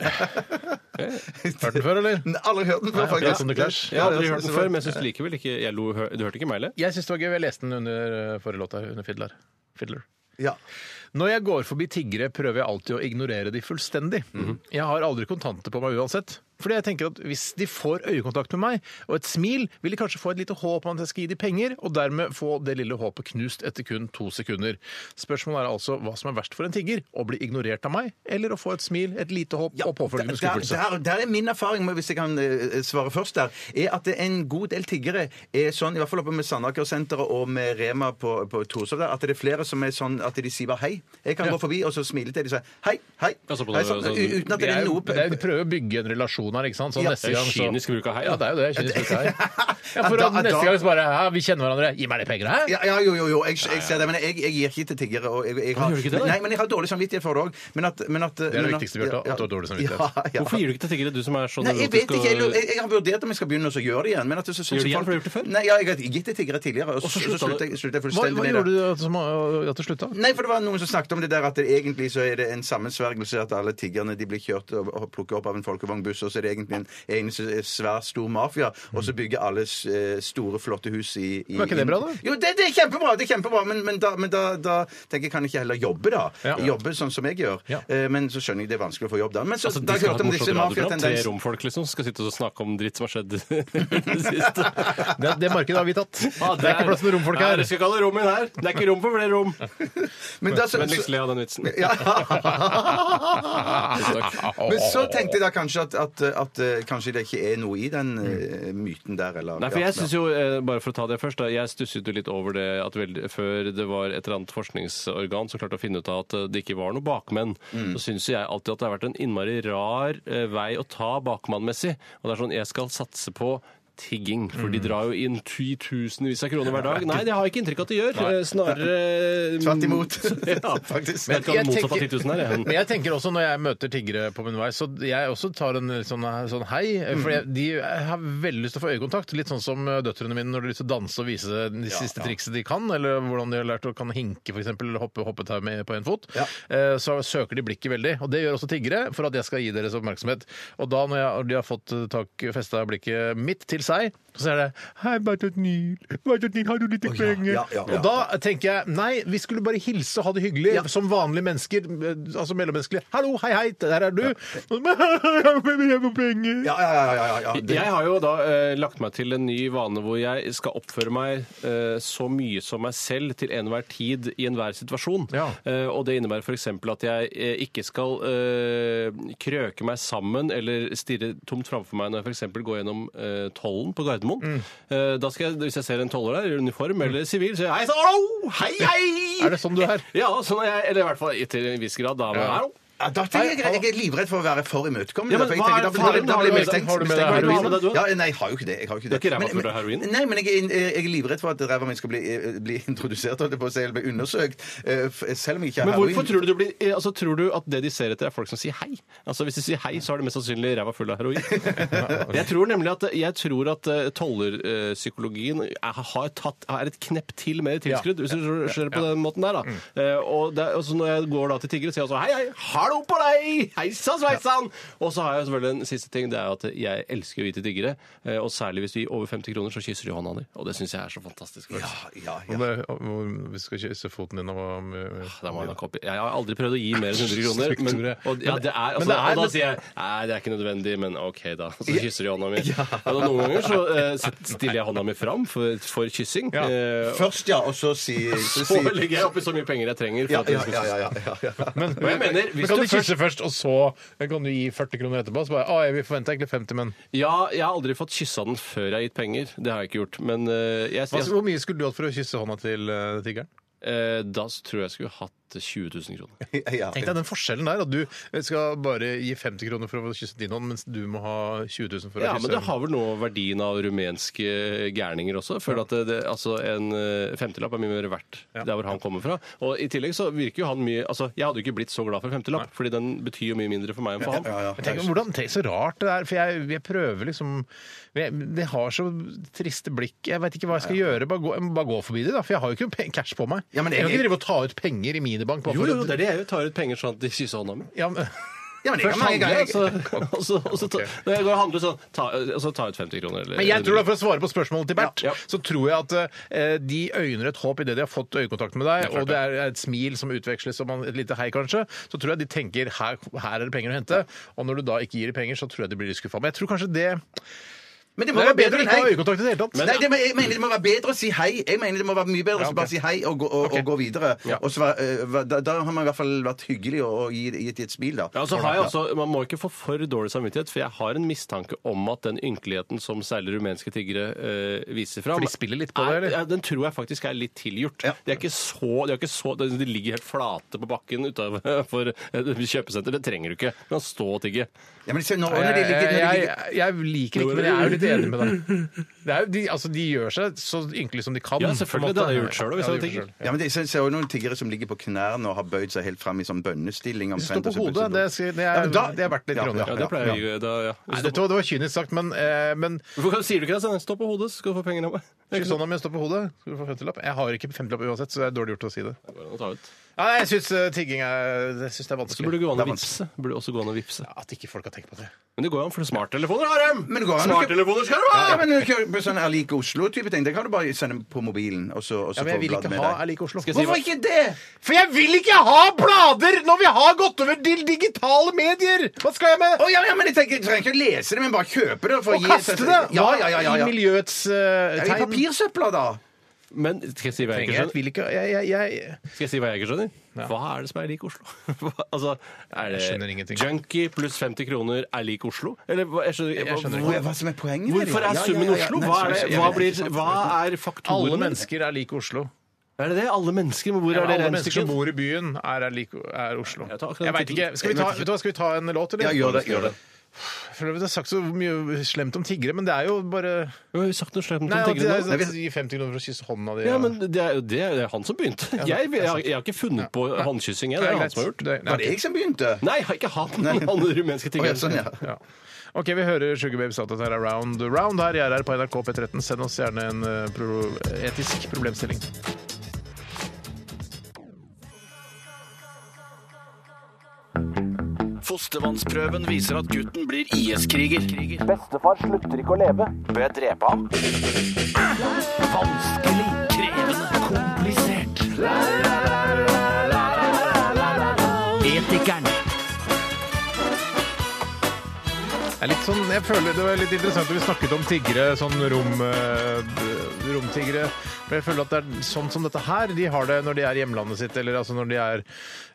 den før, eller? Nei, Aldri hørt den før, akkurat som The Clash. faktisk. Jeg har aldri hørt den før, men jeg syns likevel ikke jeg lo, hø- Du hørte ikke meg, eller? Jeg syns det var gøy. Jeg leste den under eh, forrige låta, under Fiddler. Fiddler. Ja. Når jeg går forbi tiggere, prøver jeg alltid å ignorere de fullstendig. Mhm. Jeg har aldri kontanter på meg uansett. Fordi jeg tenker at Hvis de får øyekontakt med meg og et smil, vil de kanskje få et lite håp om at jeg skal gi dem penger, og dermed få det lille håpet knust etter kun to sekunder. Spørsmålet er altså hva som er verst for en tigger. Å bli ignorert av meg, eller å få et smil, et lite håp og påfølgende der, skuffelse. der, der er min erfaring, men hvis jeg kan eh, svare først der, er at det er en god del tiggere er sånn, i hvert fall oppe med Sandaker-senteret og med Rema på, på Torshov der, at det er flere som er sånn at de sier bare hei. Jeg kan gå forbi, og så smiler til de og sier hei, hei. Altså på hei det- sånn, u- altså, uten at Det det er, er jo- noe det er, vi prøver å bygge en relasjon her, ikke sant? Så Ja. neste Det er gang så kynisk bruk av hei, da. Ja, det er jo det. Kynisk bruk av hei. Ja, for Ja, at da- neste da- gang så bare ja, Vi kjenner hverandre. Gi meg de pengene, hæ? Ja, ja, jo, jo, jo. Jeg, jeg ser det, men jeg, jeg gir ikke til tiggere. Og jeg, jeg har, gjør du ikke det, da? Nei, men jeg har dårlig samvittighet for det òg. Men at, men at Det det viktigste, Bjarte, at du har dårlig samvittighet. Ja, ja. Hvorfor gir du ikke til tiggere, du som er så Nei, jeg vet nevrotisk ikke. Jeg, og- jeg, jeg har vurdert om jeg skal begynne å så gjøre det igjen. Men at det, så, Gjør synes det jeg igjen, folk- for du har gjort det før? Nei, ja, jeg har gitt det til tiggere tidligere. Og så, så slutta slutta du? jeg, sluttet Hva, jeg hva fullstendig med det. gjorde du at- som at du slutta? Nei, for det var noen som snakket om det der at det egentlig så er det en sammensvergelse at alle tiggerne de blir kjørt og og plukket opp av en folkevognbuss, og så er det egentlig en, en s- svær, stor mafia, og Mm. så bygger alle s- eh, store, flotte hus i, i Var ikke det bra, da? Jo, det, det er kjempebra, det er kjempebra, men, men, da, men da, da tenker jeg kan jeg ikke heller jobbe, da. Ja. Jobbe sånn som jeg gjør. Ja. Eh, Men så skjønner jeg det er vanskelig å få jobb der. Men så Altså, da de har jeg skal ha hørt et om disse morsomt radioprogram. Tre mafiatendensene. romfolk liksom som skal sitte og snakke om dritt som har skjedd det siste. Det, det markedet har vi tatt. det, er ikke plass til romfolk Nei, her. dere skal kalle rom inn her. Det er ikke rom for flere rom. Men da så- Men liksom, le av den vitsen. Men så tenkte jeg da kanskje at, at, at eh, kanskje det ikke er noe i den eh, myten der, eller Mm. Nei, for Ja, jeg ja. synes jo, eh, bare for å ta det først, da, jeg stusset jo litt over det at vel, før det var et eller annet forskningsorgan som klarte å finne ut av at eh, det ikke var noen bakmenn, Mm. så synes jo jeg alltid at det har vært en innmari rar eh, vei å ta bakmannmessig. Og det er sånn, jeg skal satse på tigging. For Mm. de drar jo inn titusenvis av kroner hver dag. Nei, det har jeg ikke inntrykk av at de gjør. Eh, Snarere Tvert imot. Ja. Faktisk. Men Jeg jeg kan motsatt av tenker- 10 000 her, jeg. Men jeg tenker også når jeg møter tiggere på min vei, så jeg også tar en sånn, sånn hei. For jeg, de har veldig lyst til å få øyekontakt. Litt sånn som døtrene mine når de har lyst til å danse og vise de siste trikset de kan, eller hvordan de har lært å kan hinke, f.eks. eller hoppe hoppetau med på én fot. Eh, Så søker de blikket veldig. Og det gjør også tiggere for at jeg skal gi deres oppmerksomhet. Og da når jeg, de har fått eh, tak festa blikket mitt til seg, så er det Hei, Bartotnil, Bartotnil, har du litt penger? ja, ja, ja. Og da tenker jeg nei, vi skulle bare hilse og ha det hyggelig som vanlige mennesker. eh, Altså mellommenneskelige. Hallo, hei, hei, der er du. Og så bare, Jeg får penger. Ja, ja, ja. ja, ja. Det, Jeg har jo da eh, lagt meg til en ny vane hvor jeg skal oppføre meg eh, så mye som meg selv til enhver tid i enhver situasjon. Ja. Eh, og det innebærer f.eks. at jeg eh, ikke skal eh, krøke meg sammen eller stirre tomt framfor meg når jeg f.eks. går gjennom eh, tollen på Gardermoen. Eh, da skal jeg, hvis jeg ser en toller der i uniform eller sivil, så sier jeg hei, så, hallo! hei, hei! Er det sånn du er? Ja, sånn er jeg, eller i hvert fall til en viss grad. da. Men, Ja. hallo! ja, da tenker jeg, greit. jeg er livredd for å være for imøtekommende. Ja, men for jeg hva er tenker, da- da- faren? da- da blir jeg Har du med- mistenkt- har du med mistenkt deg for heroin? heroin. Har du med deg heroin? Ja, nei, jeg har jo ikke det. Jeg har jo ikke det. Du er ikke ræva Men- for å ha heroin? Nei, men jeg, er- eh, jeg er livredd for at ræva mi skal bli, eh, bli introdusert, holdt jeg på å si, eller bli undersøkt, eh, f- selv om jeg ikke har Men hvorfor heroin. tror du, det blir, eh, altså, tror du at det de ser etter, er folk som sier hei? Altså Hvis de sier hei, så er det mest sannsynlig ræva full av heroin. Jeg tror nemlig at, jeg tror at eh, tollerpsykologien er, har tatt, er et knepp til mer tilskrudd, hvis du ser det på den måten der. da. Mm. Eh, Og, det, og så Når jeg går da til tiggere, sier jeg altså hei, hei, hallo på deg! Heisa sveisann! Og så har jeg selvfølgelig en siste ting, det er jo at jeg elsker å vite tiggere. eh, Og særlig hvis de gir over 50 kroner, så kysser de hånda di. Og det syns jeg er så fantastisk. følelse. Ah, Ja, ja. Og det- og- og Vi skal kysse foten din og eh, hva Da må jeg nok opp i- Jeg har aldri prøvd å gi mer enn 100 kroner. Men, Struktur, ja. og, ja, det er, altså, Men det er- og da sier jeg nei, det er ikke nødvendig, men OK, da. Og så kysser de hånda mi. Og da, noen ganger så eh, set- stiller jeg hånda mi fram for, for kyssing. Ja. eh, og Først, ja, og så sier så så sier- legger jeg oppi så mye penger jeg trenger. For Ja, at ja, jeg skal ja, kysse. ja, ja, ja, ja. Og jeg mener, Men hvis Ah, kan du du først, kysse først, og så kan du gi 40 kroner etterpå? Så bare, «Å, jeg vil forvente egentlig 50, men ja, jeg har aldri fått kyssa den før jeg har gitt penger. Det har jeg ikke gjort. Men eh, jeg, Hva- jeg, Hvor mye skulle du hatt for å kysse hånda til eh, tiggeren? eh, da tror jeg jeg skulle hatt 20 000 kroner. ja. Tenk deg den forskjellen der, at du eh, skal bare gi 50 kroner for å kysse din hånd, mens du må ha 20 000 for å Ja, kysse men det har vel noe verdien av rumenske gærninger også. Jeg føler at det, det, altså En eh, femtilapp er mye mer verdt der hvor han kommer fra. Og i tillegg så virker jo han mye altså Jeg hadde jo ikke blitt så glad for en femtilapp, fordi den betyr jo mye mindre for meg enn for ham. Ja, ja. Men tenk, hvordan, tenk så rart det er, for jeg, jeg prøver liksom jeg, Det har så triste blikk. Jeg veit ikke hva jeg skal gjøre. Bare gå, jeg må bare gå forbi det, da. For jeg har jo ikke pe- cash på meg. Ja, men jeg, kan jeg- ikke drive og ta ut penger i minibank. bare Jo, for jo, å- det er det jeg gjør. Tar ut penger sånn at de kysser hånda mi. Ja, men, Ja, men jeg Først kan- jeg- handler jeg, jeg- og så- og så- og så ta- når jeg går og handler sånn, ta, og så ta ut 50 kroner. Eller, men jeg tror da, for å svare på spørsmålet til Bert, Ja, ja. så tror jeg at eh, de øyner et håp idet de har fått øyekontakt med deg, og det er et smil som utveksles, og man, et lite hei kanskje, så tror jeg de tenker her, her er det penger å hente. Og når du da ikke gir dem penger, så tror jeg de blir litt skuffa. Men jeg tror kanskje det Men det må Det er være bedre bedre å enn ikke ha hei. øyekontakt i det hele tatt. Nei, det, men jeg mener det må være bedre å si hei. Jeg mener det må være mye bedre Ja, å bare ok. si hei og gå, og, Ok. og gå videre. Ja. Og så, være- eh, hva- da, da har man i hvert fall vært hyggelig og, og gitt, gitt et smil, da. Ja, og så har jeg også, Man må ikke få for dårlig samvittighet, for jeg har en mistanke om at den ynkeligheten som særlig rumenske tiggere eh, viser fram For de spiller litt på det, er- eller? Ja, den tror jeg faktisk er litt tilgjort. Ja. De, er ikke så, de, er ikke så, de ligger helt flate på bakken utenfor et kjøpesenter. Det trenger du ikke. Du kan stå og tigge. Ja, men se, når, når de Jeg, ligger, når de jeg, ligger jeg liker ikke, men jeg er jo litt enig med deg. Det er jo, de, altså, de gjør seg så ynkelig som de kan. Ja, selvfølgelig. på en måte. Det hadde jeg gjort selv, hvis Ja, jeg det hadde gjorde tenkt. selv. ja, men det, så, så er det noen tiggere som ligger på knærne og har bøyd seg helt fram i sånn bønnestilling. Det står omtrent, på og så hodet. plutselig- Det, skal- det, Ja, er, men da- det er verdt litt Ja, kroner. ja, Ja, det pleier jeg å da, ja. Nei, dette var, det var kynisk sagt, men, eh, men Hvorfor sier du ikke det? Sånn, Stå på hodet, så skal du få pengene av meg. Det er ikke sånn om jeg står på hodet. Skal du få femtilapp? Jeg har ikke femtilapp uansett, så det er dårlig gjort å si det. sånn å ta ut. Ja, jeg syns tigging er, jeg synes det er Så burde vanskelig. det gå an å Det er vipse. Burde også gå an å vipse. Ja, At ikke folk har tenkt på det. Men det går jo an, for smarttelefoner har dem! Men det går an å- Smarttelefoner skal du ha! Ja, men ikke- på sånn Er like Oslo-type ting. Det kan du bare sende på mobilen, og så, og så Ja, men jeg får du vil bladet ikke med ha deg. er lik Oslo. Skal jeg si hva- Hvorfor ikke det?! For jeg vil ikke ha blader når vi har gått over til digitale medier! Hva skal jeg med? Å, ja, ja, men jeg tenker, jeg trenger ikke å lese det, men bare kjøpe det. For å Og gi- kaste det! Ja, ja, ja, ja, I ja. miljøets eh, Ja, I tegn. papirsøpla, da! Men skal jeg si hva jeg ikke Jeg skjønner? vil ikke jeg, jeg, jeg, Skal jeg si hva jeg ikke skjønner? Hva er det som er lik Oslo? Hva- altså, er Jeg skjønner ingenting. det junkie pluss 50 kroner er lik Oslo? Eller hva- jeg skjønner, Jeg skjønner hvor- Hva- Hva som er poenget med det? Hvorfor er Ja, ja, summen ja, ja. Oslo? Nei, Hva jeg er, vet det, hva, ikke. blir, hva er faktorene? Alle mennesker er lik Oslo. Er det det? Alle mennesker? Men hvor er det alle mennesker som regnestykket? bor i byen, er, er, lik, er Oslo. Jeg tar akkurat Jeg vet tittelen. ikke. Skal vi, ta, vet du hva, skal vi ta en låt, eller? Ja, gjør det. gjør det. Jeg føler vi har sagt så mye slemt om tiggere, men det er jo bare Jo, vi har sagt noe slemt om Nei, at det tiggere er nå. sånn at de gir 50 kroner for å kysse hånda di. Ja, og- men det er jo det er han som begynte. Jeg, jeg, har- jeg har ikke funnet på håndkyssing, jeg. Det er han som har gjort. Det er- Var det jeg som begynte? Nei, har ikke han! Han rumenske Å, ja, tiggeren. sånn, ja. Ja. OK, vi hører Sugar Babes at dette her er Round the Round her. Jeg er her på NRK P13. Send oss gjerne en eh, pro etisk problemstilling. Fostervannsprøven viser at gutten blir IS-kriger. Bestefar slutter ikke å leve. Bør jeg drepe ham? Vanskelig, krevende, komplisert. Etikeren. Det er litt sånn, jeg føler det var litt interessant at vi snakket om tiggere, sånn rom, eh, d- romtiggere. For jeg føler at det er sånn som dette her, de har det når de er i hjemlandet sitt, eller altså når de er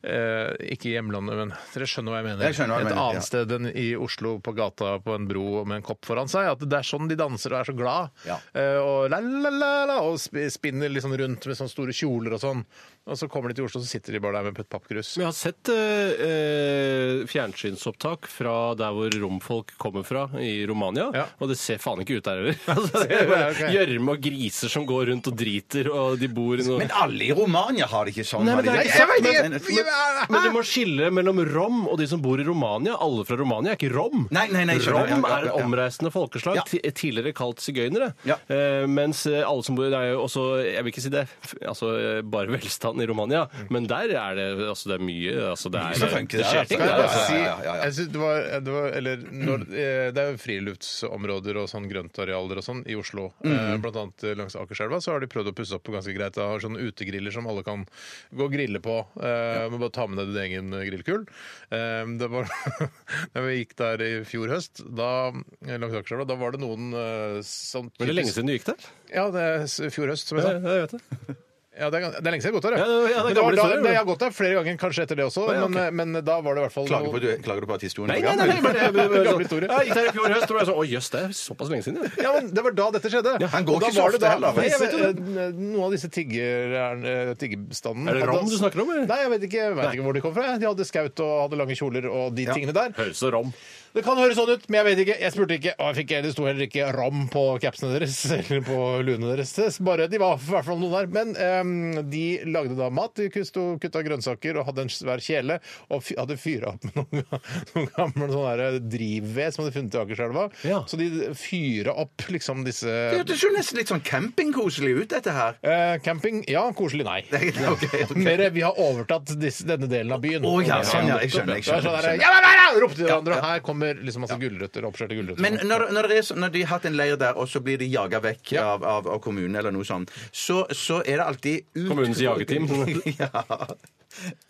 eh, ikke i hjemlandet, men dere skjønner hva jeg mener. Jeg skjønner hva jeg Et mener, ja. annet sted enn i Oslo på gata på en bro med en kopp foran seg. At det er sånn de danser og er så glad. Ja. Eh, og la la la la, og sp- spinner liksom rundt med sånne store kjoler og sånn. Og så kommer de til Oslo, så sitter de bare der med pappkrus. Vi har sett eh, eh, fjernsynsopptak fra der hvor romfolk kommer fra, i Romania. Ja. Og det ser faen ikke ut der heller. Altså, det er Ja, ok. bare Gjørme og griser som går rundt og driter, og de bor i noe Men alle i Romania har det ikke sånn. Nei, men har de det er det? ikke Nei, nei, sant, men- nei. Men du må skille mellom rom og de som bor i Romania. Alle fra Romania er ikke rom. Nei, nei, nei, skjønner. Rom Ja, ja, er et ja. omreisende folkeslag, Ja. ti- tidligere kalt sigøynere. Ja. Eh, mens eh, alle som bor Det er jo også Jeg vil ikke si det f- altså, eh, bare velstand i Romania, men der er det altså det er mye altså, det, er, Mm. Så funker det, skjer altså. ting Kan jeg Ja, der. bare Altså. si, ja, ja, ja. jeg synes det var, det var eller, når, eh, det er jo friluftsområder og sånn grøntarealer og sånn i Oslo. Eh, Mhm. Blant annet langs Akerselva så har de prøvd å pusse opp ganske greit. De har sånne utegriller som alle kan gå og grille på. Eh, må bare ta med deg din egen grillkull. Eh, det var, da vi gikk der i fjor høst, da, eh, langs Akerselva, da var det noen eh, sånn Men det er lenge siden du gikk der? Ja, det er s- fjor høst, som jeg sa. Ja, jeg vet det. Ja, det er, gans- det er lenge siden jeg har gått der, Ja, ja, ja, det er Men det var gamle da, historier, nei, jeg har gått der flere ganger, kanskje etter det også, ja, ok. men, men da var det i hvert fall Klager, på, du, klager du på at historien Nei, er nei, nei, gammel? nei bare, jeg, jeg, Gammel jeg, historie. gikk der i fjor høst, og jeg sånn Å jøss, det er såpass lenge siden, ja. Ja, men Det var da dette skjedde. han går Og da ikke så var det ofte da- heller, vel? disse, Nei, jeg vet eh, Noen av disse tiggererne- tiggerstandene Er det hadde- rom du snakker om, eller? Nei, jeg vet ikke, jeg vet ikke hvor de kom fra. jeg. De hadde skaut og hadde lange kjoler og de tingene der. Høres ut som rom. Det kan høres sånn ut, men jeg vet ikke. Jeg spurte ikke, og jeg fikk, det sto heller ikke rom på capsene deres eller på luene deres. Det er Bare, De var i hvert fall noen der. Men ehm, de lagde da mat. De kusto- kutta grønnsaker og hadde en svær kjele. Og fy, hadde fyra opp med noen, noen gamle sånne der drivved som de hadde funnet i Akerselva. Ja. Så de fyra opp liksom Det disse hørtes jo nesten litt sånn campingkoselig ut, dette her. Eh, camping, ja. Koselig, nei. Ok, ok. Mer, vi har overtatt disse, denne delen av byen. Å, ja, sånn, ja, jeg skjønner, jeg Det var sånn skjønner, jeg der, ja, ja, ja, ja, ropte de hverandre. og Her kommer liksom masse gulrøtter, oppskjørte gulrøtter. Men når, når, det er, så- når de har hatt en leir der, og så blir de jaga vekk Ja. av, av, av kommunen, eller noe sånt, så, så er det alltid ut- Kommunens jageteam. ja.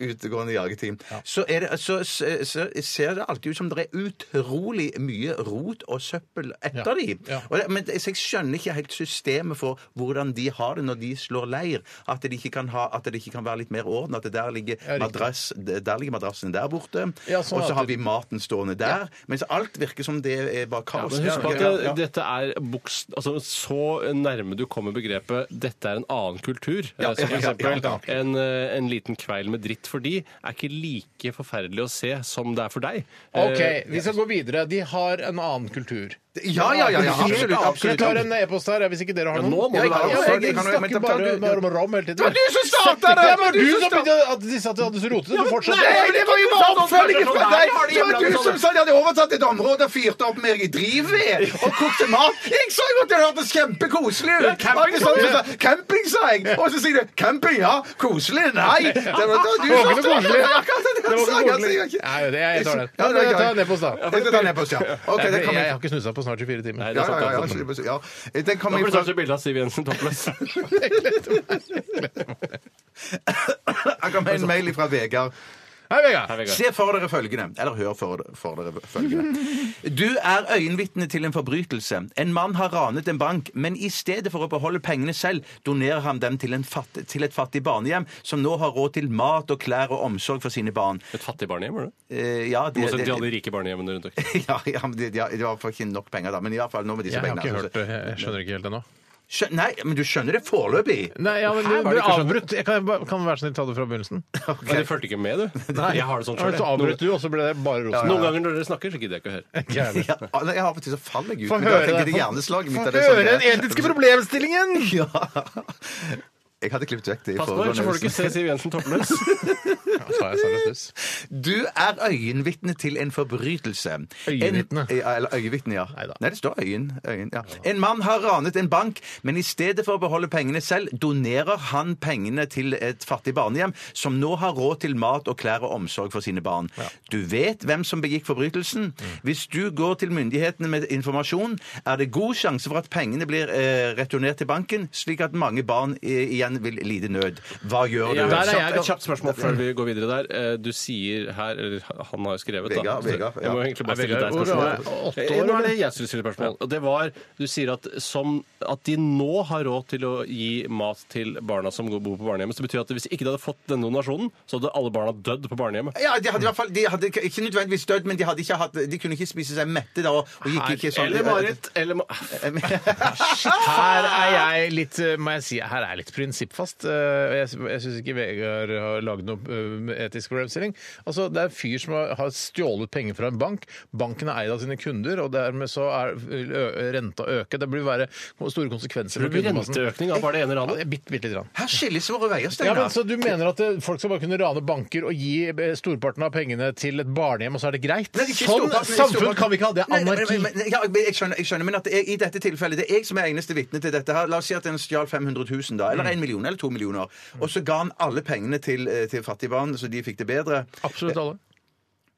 Utegående jageteam. Så, er det, så, så, så ser det alltid ut som det er utrolig mye rot og søppel etter Ja. de. Ja. Og det, men det- så jeg skjønner ikke helt systemet for hvordan de har det når de slår leir. At det ikke kan, ha, at det ikke kan være litt mer orden. At det der ligger, Ja, riktig. madrass, der ligger madrassen der borte, Ja, sånn og at så har det- vi maten stående der. Mens alt virker som det er bare kaos. Men husk på at Ja, ja, det, ja. dette er boks, altså, så nærme du kommer begrepet 'dette er en annen kultur'. Ja, eh, som ja, for ja, eksempel ja, ja. En, eh, en liten kveil med dritt for de er ikke like forferdelig å se som det er for deg. OK, Eh, vi skal gå videre. De har en annen kultur. Ja, ja, ja, ja, absolutt. Jeg absolutt. tar en e-post her, hvis ikke dere har Ja, nå noen. må Ja, du jeg- være ja, oppført. jeg, jeg Kan du- men snakker da- bare du- bare om rom hele tiden. Det var du som starta Ja, det! men Det var du du som som begynte at de sa at de hadde så rotete. Du fortsatte. Nei, det var jo bare oppfølgingen fra deg! Det var sånn- du som sa de hadde overtatt et område og fyrte opp mer i drivved og kokte mat. Jeg sa jo at det hørtes kjempekoselig ut! Camping, sa, du sa, sånn- camping sa jeg! Og så sier du 'camping', ja. Koselig? Nei! Det var, det var Det var ikke du som noe koselig. startet det, akkurat det! Det var ikke sa jeg, altså, koselig. jeg ikke- Nei, det er- jeg tar den. Ja, det er Jeg tar greit. den e-posten, da. Jeg skal ta den e-posten, ja. Ok, Jeg, det kommer har ikke snusa på snart 24 timer. Nei, Ja, det er sant, ja, ja, det er sant. ja. Den Nå kommer blir det fra snart et bilde av Siv Jensen toppløs. Jeg kom med en mail fra Vegard. Hei, Vegard. Se for dere følgende. Eller hør for dere, for dere følgende. Du er øyenvitne til en forbrytelse. En mann har ranet en bank, men i stedet for å beholde pengene selv, donerer han dem til, en fatt, til et fattig barnehjem som nå har råd til mat og klær og omsorg for sine barn. Et fattig barnehjem, var det? Eh, ja, I det, motsetning til alle det, de rike barnehjemmene rundt omkring. ja, ja, men det, ja, det var faktisk ikke nok penger da, men i hvert fall nå med disse Jeg har pengene. ikke da, så- hørt det. Jeg skjønner ikke helt ennå. Skjø- Nei, men du skjønner det foreløpig. Nei, ja, men du Hæ, hva er ble det ikke skjønner? avbrutt. Jeg kan, kan du være snill ta det fra begynnelsen. Men det fulgte ikke med, du. Jeg har det sånn Ja, men selv. Så avbrøt du, og så ble det bare rosen. Noen ganger når dere snakker, så gidder jeg ikke å høre. Ikke jeg heller. Ja, nei, jeg Av og til så faller jeg ut. Få men da høre tenker det. jeg hjerneslaget mitt Få er det som høre den det er. etiske problemstillingen! Ja. Jeg hadde klippet vekk det. i Pass på, foregående så får du ikke se Siv Jensen toppløs. Sa jeg seriøst dess. Du er øyenvitne til en forbrytelse. Øyenvitne? En, ja, eller øyevitne, ja. Neida. Nei, det står øyen. øyen ja. En mann har ranet en bank, men i stedet for å beholde pengene selv, donerer han pengene til et fattig barnehjem, som nå har råd til mat og klær og omsorg for sine barn. Du vet hvem som begikk forbrytelsen. Mm. Hvis du går til myndighetene med informasjon, er det god sjanse for at pengene blir eh, returnert til banken, slik at mange barn eh, igjen vil lide nød. Hva gjør du? Ja, der er Kjapt- jeg, et kjapt spørsmål Før vi går videre der, eh, du sier her Eller han har jo skrevet, da. Vegard, Vegard, Jeg må ja. egentlig bare Er stille deg Vegard- spørsmål. Hvor er- åtte Eh, år, Nå er eller? det jeg skulle stille spørsmål. Og det var Du sier at, som, at de nå har råd til å gi mat til barna som går- bor på barnehjemmet. Så det betyr at hvis ikke de hadde fått denne donasjonen, så hadde alle barna dødd på barnehjemmet. Ja, de hadde i hvert fall de hadde ikke- ikke nødvendigvis dødd, men de, hadde ikke hatt, de kunne ikke spise seg mette da. Og gikk ikke sånn Eller Marit. Eller Ma Her er jeg litt eh, må jeg si, her er jeg litt prinsippfast. Eh, Jeg, sy- jeg syns ikke Vegard har lagd noe eh, etisk problemstilling. Altså, Det er en fyr som har- har stjålet penger fra en bank. Banken er eid av sine kunder, og dermed så er vil ø- renta øke. Det blir være store konsekvenser for kundemassen. Renteøkning av bare det ene Ja, ranet. det er bitte, bitte litt grann. Her skilles våre veier, Ja, Steinar. men Så du mener at eh, folk skal bare kunne rane banker og gi eh, storparten av pengene til et barnehjem, og så er det greit? Nei, det er ikke sånn storparten, det er samfunn storparten. kan vi ikke ha! Det er Nei, nei, anarki. men- men- ja, men jeg, skjønner, jeg skjønner, men at det er, i dette tilfellet det er jeg som er eneste vitne til dette. her. La oss si at en stjal 500 000, Mm. da, eller 1 million, eller 2 millioner. Og så ga han alle pengene til, eh, til fattige barn, så de fikk det bedre. Absolutt alle.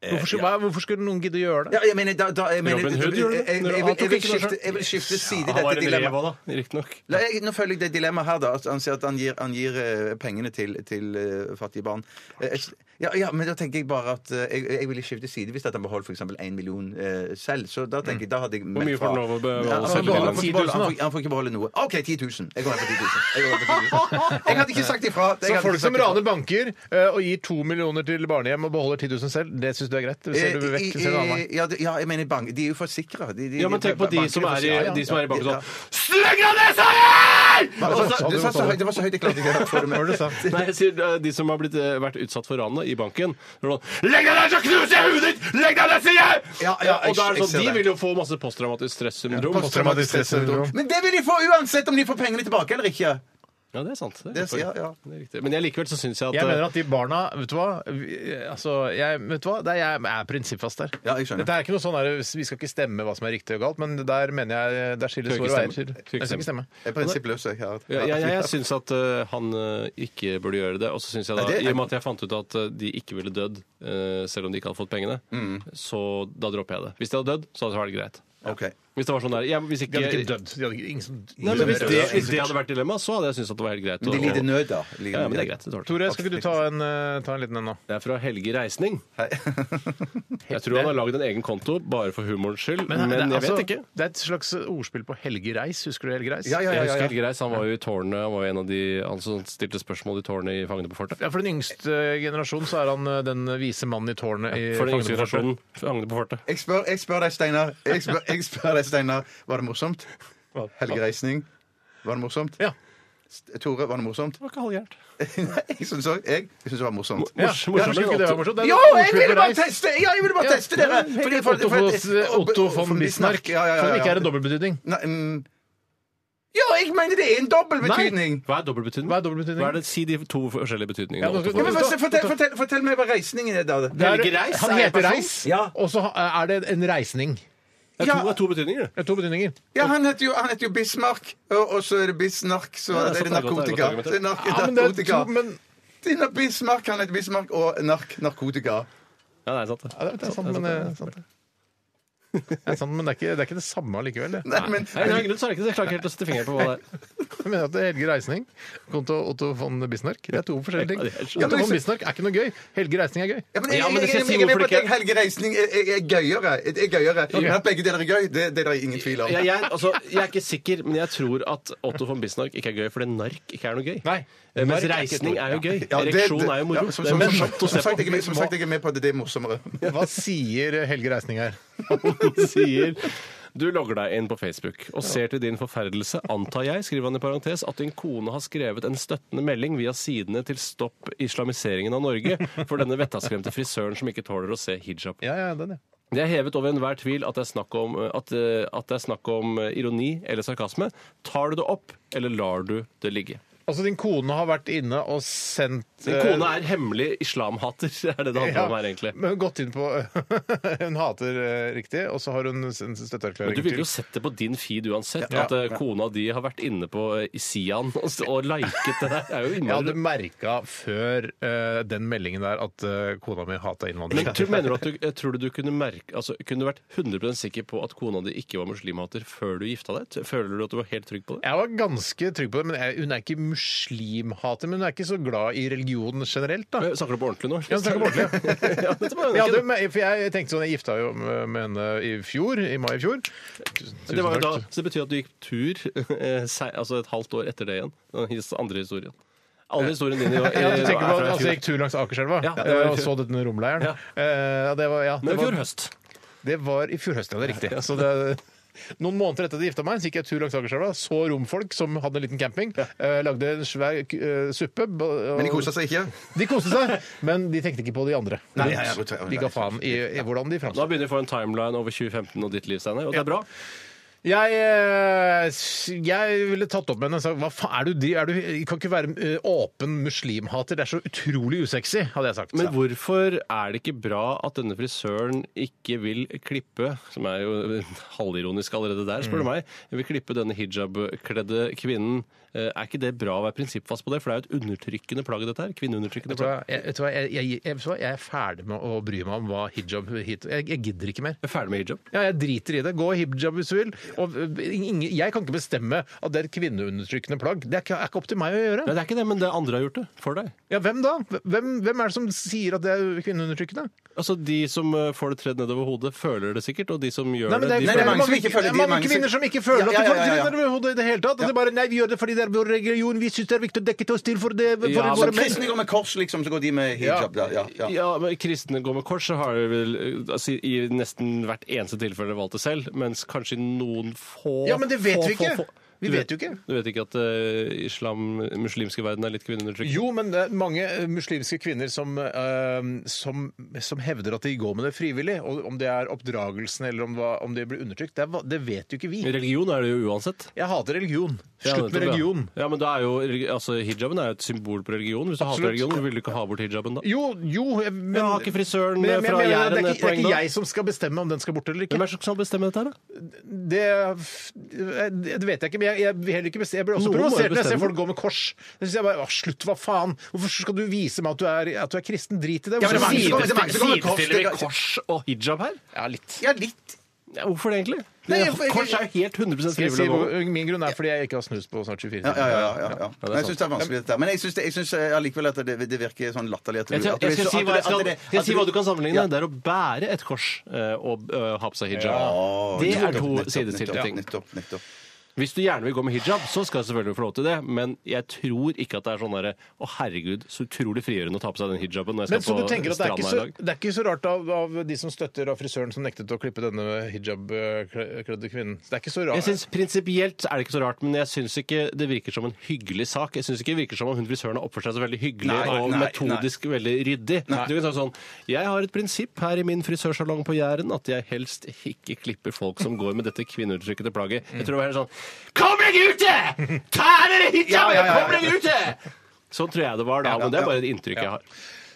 eh, Hvorfor skulle, hva- hvorfor skulle noen gidde å gjøre det? Ja, jeg mener, da, da, jeg mener, Robin Hood jeg, gjorde jeg, det. jeg, jeg, Han vil- tok jeg, vil ikke noe skifte- selv. jeg vil skifte side i Han var dette en dilemmaet. rev òg, da. Riktignok. La, jeg, nå følger jeg det dilemmaet her, da. at Han sier at han gir, han gir eh, pengene til, til eh, fattige barn. Eh, jeg- ja, ja, men da tenker jeg bare at eh, jeg, jeg ville skifte side hvis at han beholdt f.eks. 1 million eh, selv. Så da tenker jeg, da hadde jeg meldt mye får han lov å beholde Ja, han får ikke selv? 10 beholde- Han får 000, ikke beholde- han får- han får ikke beholde noe. OK, 10 000. Jeg går med på 10 000. Jeg, går med på 10 000. jeg hadde ikke sagt ifra. Så Jeg hadde folk som ikke sagt ifra. raner banker eh, og gir to millioner til barnehjem og beholder 10 000 selv, det syns du er greit? Det Ser du Eh, vekk, i- ser du annen vei. i- ja, det- ja, jeg mener bank, de er jo forsikra. De, de, Ja, men tenk på de bankene som er i, forsikrer. Ja, ja. de som er i banken Ja. sånn. sånn Slegg deg ned, sa jeg! Og så- Sa du Det hva var sa så du? høyt- det var så høyt jeg klarte ikke å få det med. Hva var det du sa? Nei, jeg sier eh, de som har blitt, eh, vært utsatt for ranet i banken. Det er sånn, Legg deg ned, så knuser jeg huet ditt! Legg deg ned, sier jeg! Ja, ja, og da er jeg- det jeg sånn, ser De det. vil jo få masse posttraumatisk stressyndrom. Posttraumatisk stressyndrom. Men det vil de få uansett om de får pengene tilbake eller ikke. Ja, det er sant. Det er Det- ja, riktig. ja. Det er riktig. Men jeg likevel så syns jeg at Jeg eh, mener at de barna Vet du hva? Vi, altså, jeg, vet du hva? Det er, jeg er prinsippfast der. Ja, jeg skjønner. Dette er ikke noe sånn der, Vi skal ikke stemme hva som er riktig og galt, men der mener jeg eh, der skilles Skal ikke våre veier. stemme. til- Skal ikke Jeg skal ikke stemme. Jeg er prinsippløs, jeg. Her. Ja, jeg jeg, jeg syns at eh, han eh, ikke burde gjøre det. Og så syns jeg da, Nei, det er- i og med at jeg fant ut at eh, de ikke ville dødd eh, selv om de ikke hadde fått pengene, Mm. så da dropper jeg det. Hvis de hadde dødd, så hadde det vært greit. Ok. Hvis det var sånn der, ja, hvis De ikke, hadde ikke dødd. De hadde ikke, ingen som Nei, men hvis det, hvis det hadde vært dilemma, så hadde jeg syntes at det var helt greit. Men de å- lider nød, da. De lider Ja, ja, men det er nød. greit. Det tåler jeg. Tore, skal ikke du ta en, eh, ta en liten en nå? Det er fra Helge Reisning. Jeg tror han har lagd en egen konto bare for humorens skyld, men, eh, det, er jeg altså- vet ikke. Det er et slags ordspill på Helge Reis. Husker du Helge Reis? Ja, ja, ja, Jeg ja, husker ja. Helge Reis, han var jo i tårnet, han var jo en av de han som stilte spørsmål i tårnet i Fangene på fortet. Ja, For den yngste generasjonen så er han eh, den vise mannen i tårnet. i For den Fangene yngste på fortet. generasjonen Fangene på fortet. Jeg spør, jeg spør deg, Steinar. Jeg spør, jeg spør deg, Steinar. Var det morsomt? Helge Reisning. Var det morsomt? Ja. St- Tore, var det morsomt? Det var ikke halvgærent. Nei, jeg syns også- jeg syns det var morsomt. Ja, Mors- ja, morsommere skulle ikke det være enn Otto. morsomt? Det er Jo, et jeg ordspill ville på bare Reis. teste, ja, jeg ville bare Ja. teste dere! Helt Fordi- Otto, fordi- von, Otto von Bismark, Ja, ja, ja, som ja. ikke er en dobbeltbetydning. Nei, mm. Ja, jeg mener det er en dobbel betydning! Hva er dobbeltbetydning? Hva er dobbeltbetydning? Hva er det? Si de to forskjellige betydningene. Ja, nå skal- Otto Ja, men von Bismarck. fortell, fortell, fortell, fortell meg hva reisningen er, da. Det er- Helge Reis Han er en heter person. Reis, Ja. og så ha- er det en reisning. det er to, det er to betydninger. det. Det er to betydninger. Ja, han heter jo, han heter jo Bismark, og, og så er det Bisnark, så Ja, er det sånn er det godt, det narkotika. er godt argument. Det er nark- Ja, men det er narkotika. to, men Det er Bismark, han heter Bismark, og nark, narkotika. Ja, det er sant. det. ja, Det er sant, men eh, det er sant. Det er sant, men det er ikke det, er ikke det samme allikevel. det. Nei, men, Nei, nei, grunn, så er det ikke det. Jeg klarer ikke helt å sette fingeren på hva det er. Jeg mener at det er Helge Reisning kontra Otto von Bismarck. Det er to forskjellige ting. Ja, det er så- Otto von Bismarck er ikke noe gøy. Helge Reisning er gøy. ja, men jeg, Ja, men det jeg, jeg, skal jeg si jeg, er med hvorfor på at det jeg, Helge Reisning er, er, er gøyere. Er gøyere. Men at begge deler er gøy, det, det er det ingen tvil om. Jeg, jeg, altså, jeg er ikke sikker, men jeg tror at Otto von Bismarck ikke er gøy fordi nark ikke er noe gøy. Nei. Eh, Nark Mens er ikke reisning noe. er jo gøy. Ja, det- Ereksjon det- er ja, jo moro. som- Det er som- som- morsomt å Som se sagt, jeg er med- på. som sagt, jeg er med på at det er morsommere. Hva sier Helge Reisning her? sier Du logger deg inn på Facebook og ser til din forferdelse, antar jeg, skriver han i parentes, at din kone har skrevet en støttende melding via sidene til Stopp islamiseringen av Norge for denne vettaskremte frisøren som ikke tåler å se hijab. Ja, ja, den, ja. Det er hevet over enhver tvil at det er snakk om, at, eh, at det er snakk om eh, ironi eller sarkasme. Tar du det opp, eller lar du det ligge? Altså, din kone har vært inne og sendt eh, Din kone er hemmelig islamhater, er det det handler om her, egentlig. Men hun har gått inn på Hun hater eh, riktig, og så har hun en Men støtteerklæring du ville jo sett det på din feed uansett, Ja. at eh, kona di har vært inne på eh, i Sian og, s- og liket det der. Det er jo Jeg hadde innvandrer. merka før eh, den meldingen der at eh, kona mi hata Men innvandrere. tror, mener du at du, eh, tror du du kunne merke altså, Kunne du vært 100 sikker på at kona di ikke var muslimhater før du gifta deg? Føler du at du var helt trygg på det? Jeg var ganske trygg på det, men jeg, hun er ikke muslimhater. Men hun er ikke så glad i religionen generelt, da. Eh, Snakker du på ordentlig nå? Ja, hun snakker på ordentlig, ja. Ja, dette var jo Jeg, ikke- hadde, men- for jeg tenkte sånn, jeg gifta jo med med henne i fjor, i mai i fjor. Tusen Det var jo da, takk. så det betyr at du gikk tur eh, se- altså et halvt år etter det igjen. Den his- andre historien. Alle historiene dine i- Ja, du er tenker på at fra i altså, jeg fjor. gikk tur langs Akerselva Ja, det var i eh, og så fjor. denne romleiren. Ja. Eh, det var, ja, det Men i var, fjor høst. det var i fjor høst, ja, det er riktig. Så det, noen måneder etter at jeg gifta meg, så gikk jeg tur langs Akerselva, så romfolk som hadde en liten camping, eh, lagde en svær eh, suppe. ba- og- Men de koser seg ikke? De koste seg, men de tenkte ikke på de andre. Nei, ja, ja, godt, ja, de ga faen i, i hvordan de Nå framsto. begynner vi å få en timeline over 2015 og ditt liv, Steinar. Og det er bra. Jeg, eh, s- jeg ville tatt opp med henne og sagt hva faen er du driv- er du, kan ikke være eh, åpen muslimhater, det er så utrolig usexy, hadde jeg sagt. Men hvorfor er det ikke bra at denne frisøren ikke vil klippe, som er jo halvironisk allerede der, spør du Mm. meg, vil klippe denne hijab-kledde kvinnen? Eh, Er ikke det bra å være prinsippfast på det? For det er jo et undertrykkende plagg, dette her. Kvinneundertrykkende Vet du hva, plagg. jeg, vet du hva, jeg, jeg, jeg, vet du hva, jeg er ferdig med å bry meg om hva hijab hit Jeg, jeg gidder ikke mer. Jeg er ferdig med hijab. Ja, jeg driter i det. Gå i hijab hvis du vil. Og øh, ingen, jeg kan ikke bestemme at det er et kvinneundertrykkende plagg. Det er ikke, er ikke opp til meg å Nei, gjøre. det er ikke det, men det andre har gjort det for deg. Ja, Hvem da? Hvem, hvem er det som sier at det er kvinneundertrykkende? Altså, De som eh, får det tredd nedover hodet, føler det sikkert, og de som gjør Nei, men det, er, det Nei, de er det er mange føler mange, som ikke det er føler- de er mange mange som- kvinner som ikke føler at Ja, ja, de får ja, ja, ja. trinn over hodet i det hele tatt. Og det er bare, nei, vi gjør det fordi det er vår religion, vi syns det er viktig å dekke til oss til for det for Ja, Som våre menn. kristne går med kors, liksom, så går de med hijab. Da. Ja, ja. Altså, ja, men Kristne går med kors, så har de vel eh, altså, i nesten hvert eneste tilfelle valgt det selv, mens kanskje i noen få Ja, men det vet få, vi ikke. få- få- Vi Du vet jo ikke. Du vet ikke at eh, islam, muslimske verden er litt kvinneundertrykkende? Jo, men det er mange eh, muslimske kvinner som, eh, som, som hevder at de går med det frivillig. Og om det er oppdragelsen eller om, hva, om det blir undertrykt, det, er, hva- det vet jo ikke vi. Religion er det jo uansett. Jeg hater religion. Ja, Slutt nettopp, med ja. religion. Ja, men da er jo, religi- altså, Hijaben er jo et symbol på religion. Hvis du hater Absolutt. religion, vil du ikke ha bort hijaben da? Jo, jo jeg- men, har ikke frisøren eh, men jeg- men jeg fra mener at Jæren Det er et ikke, det er poeng, ikke da? jeg som skal bestemme om den skal bort eller ikke. Hvem er det som skal bestemme dette her, da? Det, det vet jeg ikke, men jeg, jeg, vil heller ikke bestemme. jeg blir også Noen må jo provosert når jeg ser bestemme. folk gå med kors. Det synes jeg bare, «Å, Slutt, hva faen! Hvorfor skal du vise meg at du er, at du er kristen? Drit i det. men det Hvorfor er mange som sier går- du- det er mange som går med kors, Sidestiller vi det- kors og hijab her? Ja, litt. ja, litt. Ja, hvorfor det egentlig? Nei, jeg- jeg- kors er jo helt 100 Skal jeg si frivillig. hvor, lov. min grunn er fordi jeg ikke har snus på snart 24 Ja, ja, timer. ja, ja, ja. Men jeg syns det er vanskelig, dette. her. Men jeg syns det- jeg syns allikevel at det, det virker sånn latterlig at du Jeg skal, at du- jeg skal at si du- hva, jeg at skal, det- skal jeg si at hva du- du kan sammenligne. Ja. Det er å bære et kors eh, og eh, ha på seg hijab. Å, Det nettopp, er to nettopp, sidestilte nettopp, ting. Nettopp, nettopp. Hvis du gjerne vil gå med hijab, så skal du selvfølgelig få lov til det. Men jeg tror ikke at det er sånn derre Å, herregud, så utrolig frigjørende å ta på seg den hijaben når Men jeg så skal du tenker på at det er ikke så, stranda i dag. det er ikke så rart av, av de som støtter av frisøren som nektet å klippe denne hijab-kledde kvinnen? Det er ikke så rart. Jeg synes Prinsipielt er det ikke så rart, men jeg syns ikke det virker som en hyggelig sak. Jeg synes ikke det virker som om hun frisøren har oppført seg så veldig hyggelig Nei, og nei, metodisk veldig ryddig. Du kan si sånn Jeg har et prinsipp her i min frisørsalong på Jæren at jeg helst ikke klipper folk som går med dette kvinneundertrykkede plagget. Jeg tror det var helt sånn Kom deg ut! det! Ta av dere hijaben! Kom deg ut! det! Sånn tror jeg det var da, men det er bare et inntrykk jeg har.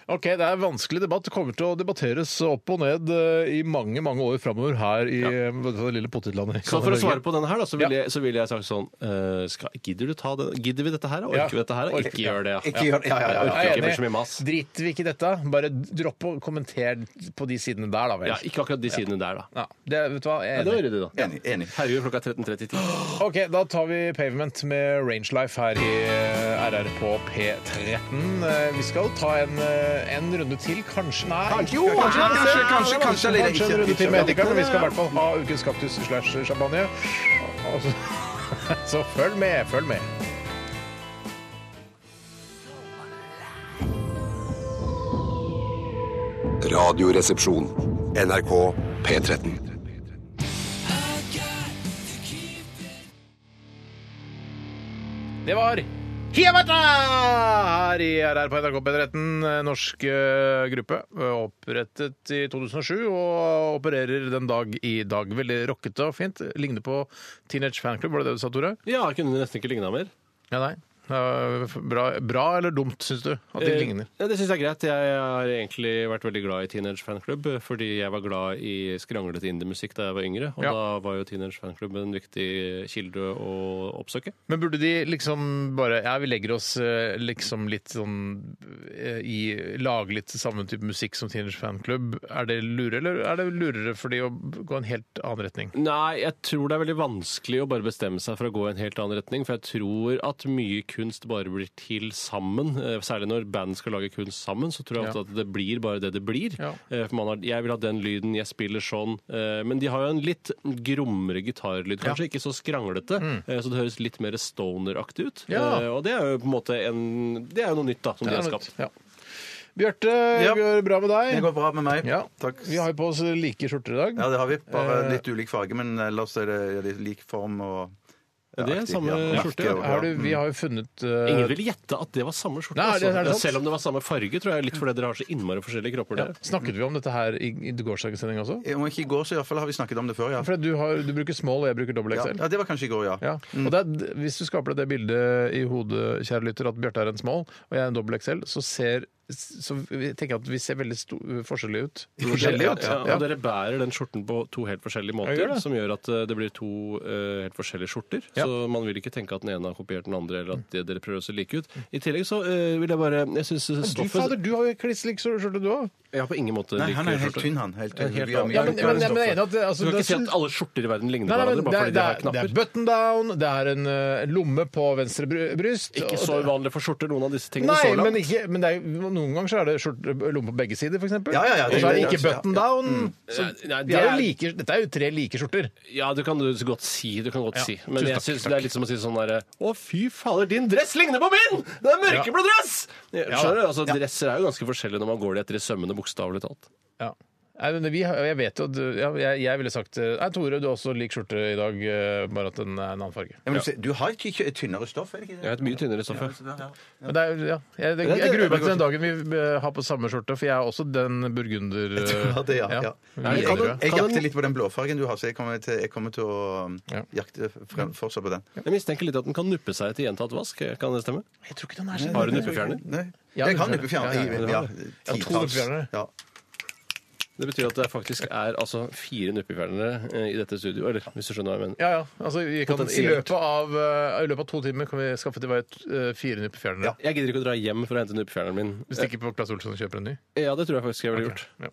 Ok, Det er en vanskelig debatt. Det kommer til å debatteres opp og ned eh, i mange mange år framover her i eh, det lille potetlandet. Så for å svare på denne her, da, så ville Sånn Ja. jeg, så ville jeg sagt sånn eh, skal, Gidder du ta den? Gidder vi dette her? da? Ja. Orker vi dette her? da? Orker- Ikke gjør det, Ikke gjør ja, ja, ja, Jeg ja. orker Jeg er ikke bli så mye enig. mas. Driter vi ikke i dette? Bare dropp å kommentere på de sidene der, da vel. Ja, ikke akkurat de sidene der, da. Ja, det, vet du hva? Jeg Ja, er enig. det var ryddig, da. Enig. enig. Herregud, klokka er 13.30. Ok, Da tar vi Pavement med Rangelife her i eh, RR på P13. Eh, Vi skal ta en, eh, en runde til, kanskje Nei, Kanskje, jo, kanskje, kanskje, kanskje, kanskje, eller kanskje en ikke. runde til med etikeren, men vi skal i Ja. hvert fall ha ukens kaktus slash champagne. Og så- Så følg med, følg med. Radioresepsjon. NRK P13. Det var Hiawatha! Her i RR på NRK P13, norsk eh, gruppe. eh, Opprettet i 2007 og opererer den dag i dag. Veldig rockete og fint. Ligner på Teenage Fanclub, var det det du sa, Tore? Ja, kunne det nesten ikke ligna mer. Ja, nei. Eh, Bra, bra eller dumt, syns du? At de Eh, ligner? Ja, det syns jeg er greit. Jeg har egentlig vært veldig glad i Teenage Fanclub eh, fordi jeg var glad i skranglete indiemusikk da jeg var yngre, og Ja. da var jo Teenage Fanclub en viktig kilde å oppsøke. Men burde de liksom bare Ja, vi legger oss eh, liksom litt sånn eh, i Lage litt samme type musikk som Teenage Fanclub. Er det lure, eller er det lurere for de å gå en helt annen retning? Nei, jeg tror det er veldig vanskelig å bare bestemme seg for å gå i en helt annen retning, for jeg tror at mye kunst bare blir til sammen. Eh, Særlig når band skal lage kunst sammen, så tror jeg ofte Ja. at det blir bare det det blir. Ja. Eh, For man har, jeg vil ha den lyden, jeg spiller sånn. Eh, Men de har jo en litt grommere gitarlyd, kanskje ikke så skranglete, eh, så det høres litt mer stoner-aktig ut. Ja. Eh, Og det er jo på en måte en, det er jo noe nytt da, som de har skapt. Ja. Bjarte, Ja. går det bra med Det deg? går bra med meg. Ja. Takk. Vi har jo på oss like skjorter i dag. Ja, det har vi. Bare Eh, litt ulik farge, men ellers er det ja, det er lik form og ja, Det er aktig, samme ja. skjorte, Merke og- Har du, vi har jo funnet eh, Ingen vil gjette at det var samme skjorte. Nei, er det- altså. er det sant? Selv om det var samme farge, tror jeg, litt fordi dere har så innmari forskjellige kropper. ja. dere. Snakket vi om dette her i, i gårsdagens sending også? Om ikke i går, så i hvert fall har vi snakket om det før, ja. For du, har, du bruker small, og jeg bruker dobbel Ja, XL. ja det var kanskje i går, ja. Ja. Og det er, hvis du skaper deg det bildet i hodet, kjære lytter, at Bjarte er en small og jeg er en dobbel XL, så ser så vi tenker jeg at vi ser veldig sto- forskjellige ut. Forskjellige ut, Ja, ja. og dere bærer den skjorten på to helt forskjellige måter, Jeg gjør det. som gjør at eh, det blir to eh, helt forskjellige skjorter. Ja. Mm. Så man vil ikke tenke at den ene har kopiert den andre, eller at de- dere prøver å se like ut. I tillegg så eh, vil jeg bare Jeg syns Du, fader, stoffet du har jo kliss lik skjorte, du òg. Jeg har på ingen måte Nei, lik han er helt skjorte. tynn, han. Helt tynn. Vi har Ja, men, mye men, men jeg stoffer. mener at det, Du altså, kan det ikke si er- at alle skjorter i verden ligner Nei, nei, men det, hverandre er, bare det, fordi de har er, det er knapper. button down, det er en eh, lomme på venstre bry- bryst og- Ikke så uvanlig for skjorter, noen av disse tingene Nei, så langt. men, ikke, men det er, noen ganger så er det skjorte, lomme på begge sider, f.eks. Ja, ja, ja, og det- så er det ikke ja, ja. button down. Så, Nei, nei, de er jo det er- like, dette er jo tre like skjorter. Ja, du kan du godt si. Du kan godt Ja, si. Men tusen jeg takk, synes takk. det er litt som å si sånn derre Å, fy fader, din dress ligner på min! Det er mørkeblå dress! Skjønner du? Altså, Dresser er jo ganske forskjellige når man går de etter i sømmene, bokstavelig talt. Ja. Nei, men vi, har- jeg vet jo at du- ja, jeg, jeg ville sagt eh, Nei, Tore, du har også lik skjorte i dag, eh, bare at den er en annen farge. Ja, men du ser- Du har ikke et tynnere stoff, er det ikke Jeg det? har et mye tynnere stoff. jeg. Men det er, ja, jeg, det, jeg gruer meg til den dagen vi eh, har på samme skjorte, for jeg er også den burgunder... eh, Ja, det, ja, ja. Vi Jeg, er røde. jeg kan jakter den- litt på den blåfargen du har, så jeg kommer til, jeg kommer til å um, Ja. jakte frem, fortsatt på den. Jeg mistenker litt at den kan nuppe seg til gjentatt vask. Kan det stemme? Jeg tror ikke den er så Har du nuppefjerner? Nei. Ja, Jeg kan det- ja, nuppefjerne. ja, i- ja. Ja, Ja, to titalls. nuppefjernere. Ja. Det betyr at det faktisk er altså fire nuppefjernere eh, i dette studioet. Eller hvis du skjønner hva jeg mener. Ja, ja. Altså, vi kan, i, Potensielt. løpet av, eh, I løpet av to timer kan vi skaffe til vei et, eh, fire nuppefjernere. Ja. Jeg gidder ikke å dra hjem for å hente nuppefjerneren min. Vi stikker på Klass Olsson og kjøper en ny. Eh, Ja, det tror jeg faktisk jeg ville gjort. Ja.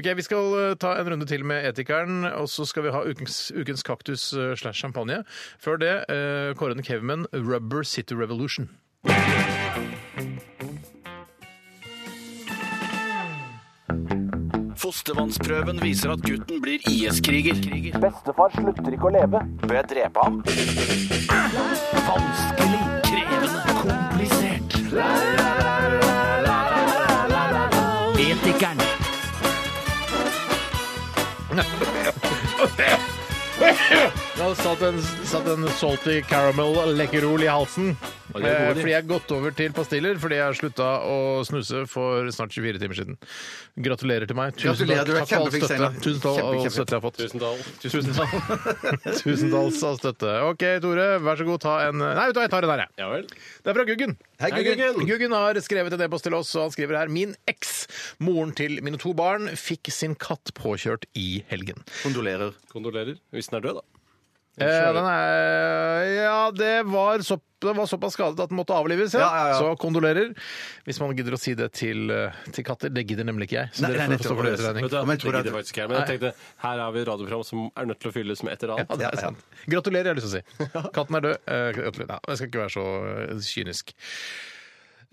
Ok, Vi skal eh, ta en runde til med Etikeren, og så skal vi ha ukens, ukens kaktus eh, slash champagne. Før det, eh, Kåren Kevman, 'Rubber City Revolution'. Fostervannsprøven viser at gutten blir IS-kriger. Bestefar slutter ikke å leve. Bør jeg drepe ham? Vanskelig, krevende, komplisert. Etikeren. Ja, det satt en, satt en salty caramel lekkerol i halsen. Ja, de er Eh, gode, de. Fordi jeg har gått over til pastiller fordi jeg slutta å snuse for snart 24 timer siden. Gratulerer til meg. Tusen takk, Gratulerer, du er takk for all kjempeflink, støtte. Steinar. Tusen takk for all Kjempe, støtte jeg har fått. Tusendal. Tusentall. Tusentalls av støtte. OK, Tore, vær så god, ta en Nei, vet du hva, jeg tar en her, jeg. Ja vel. Det er fra Guggen. Hei, Guggen. Guggen har skrevet en e-post til oss, og han skriver her Min eks, moren til mine to barn, fikk sin katt påkjørt i helgen. Kondolerer. Kondolerer. Hvis den er død, da. Eh, den er, ja, det var, så, den var såpass skadet at den måtte avlives. Ja. Ja, ja, ja. Så kondolerer. Hvis man gidder å si det til, eh, til katter. Det gidder nemlig ikke jeg. Så Nei, dere nei, får stå for nettopp. deres regning. Vet du, hva, Ja, men jeg det tror gidder at- jeg faktisk ikke jeg, men jeg tenkte her har vi et radioprogram som er nødt til å fylles med et eller Ja, annet. det er sant. Gratulerer, jeg har lyst til å si. Katten er død. Eh, gratulerer. Nei, jeg skal ikke være så eh, kynisk. Eh,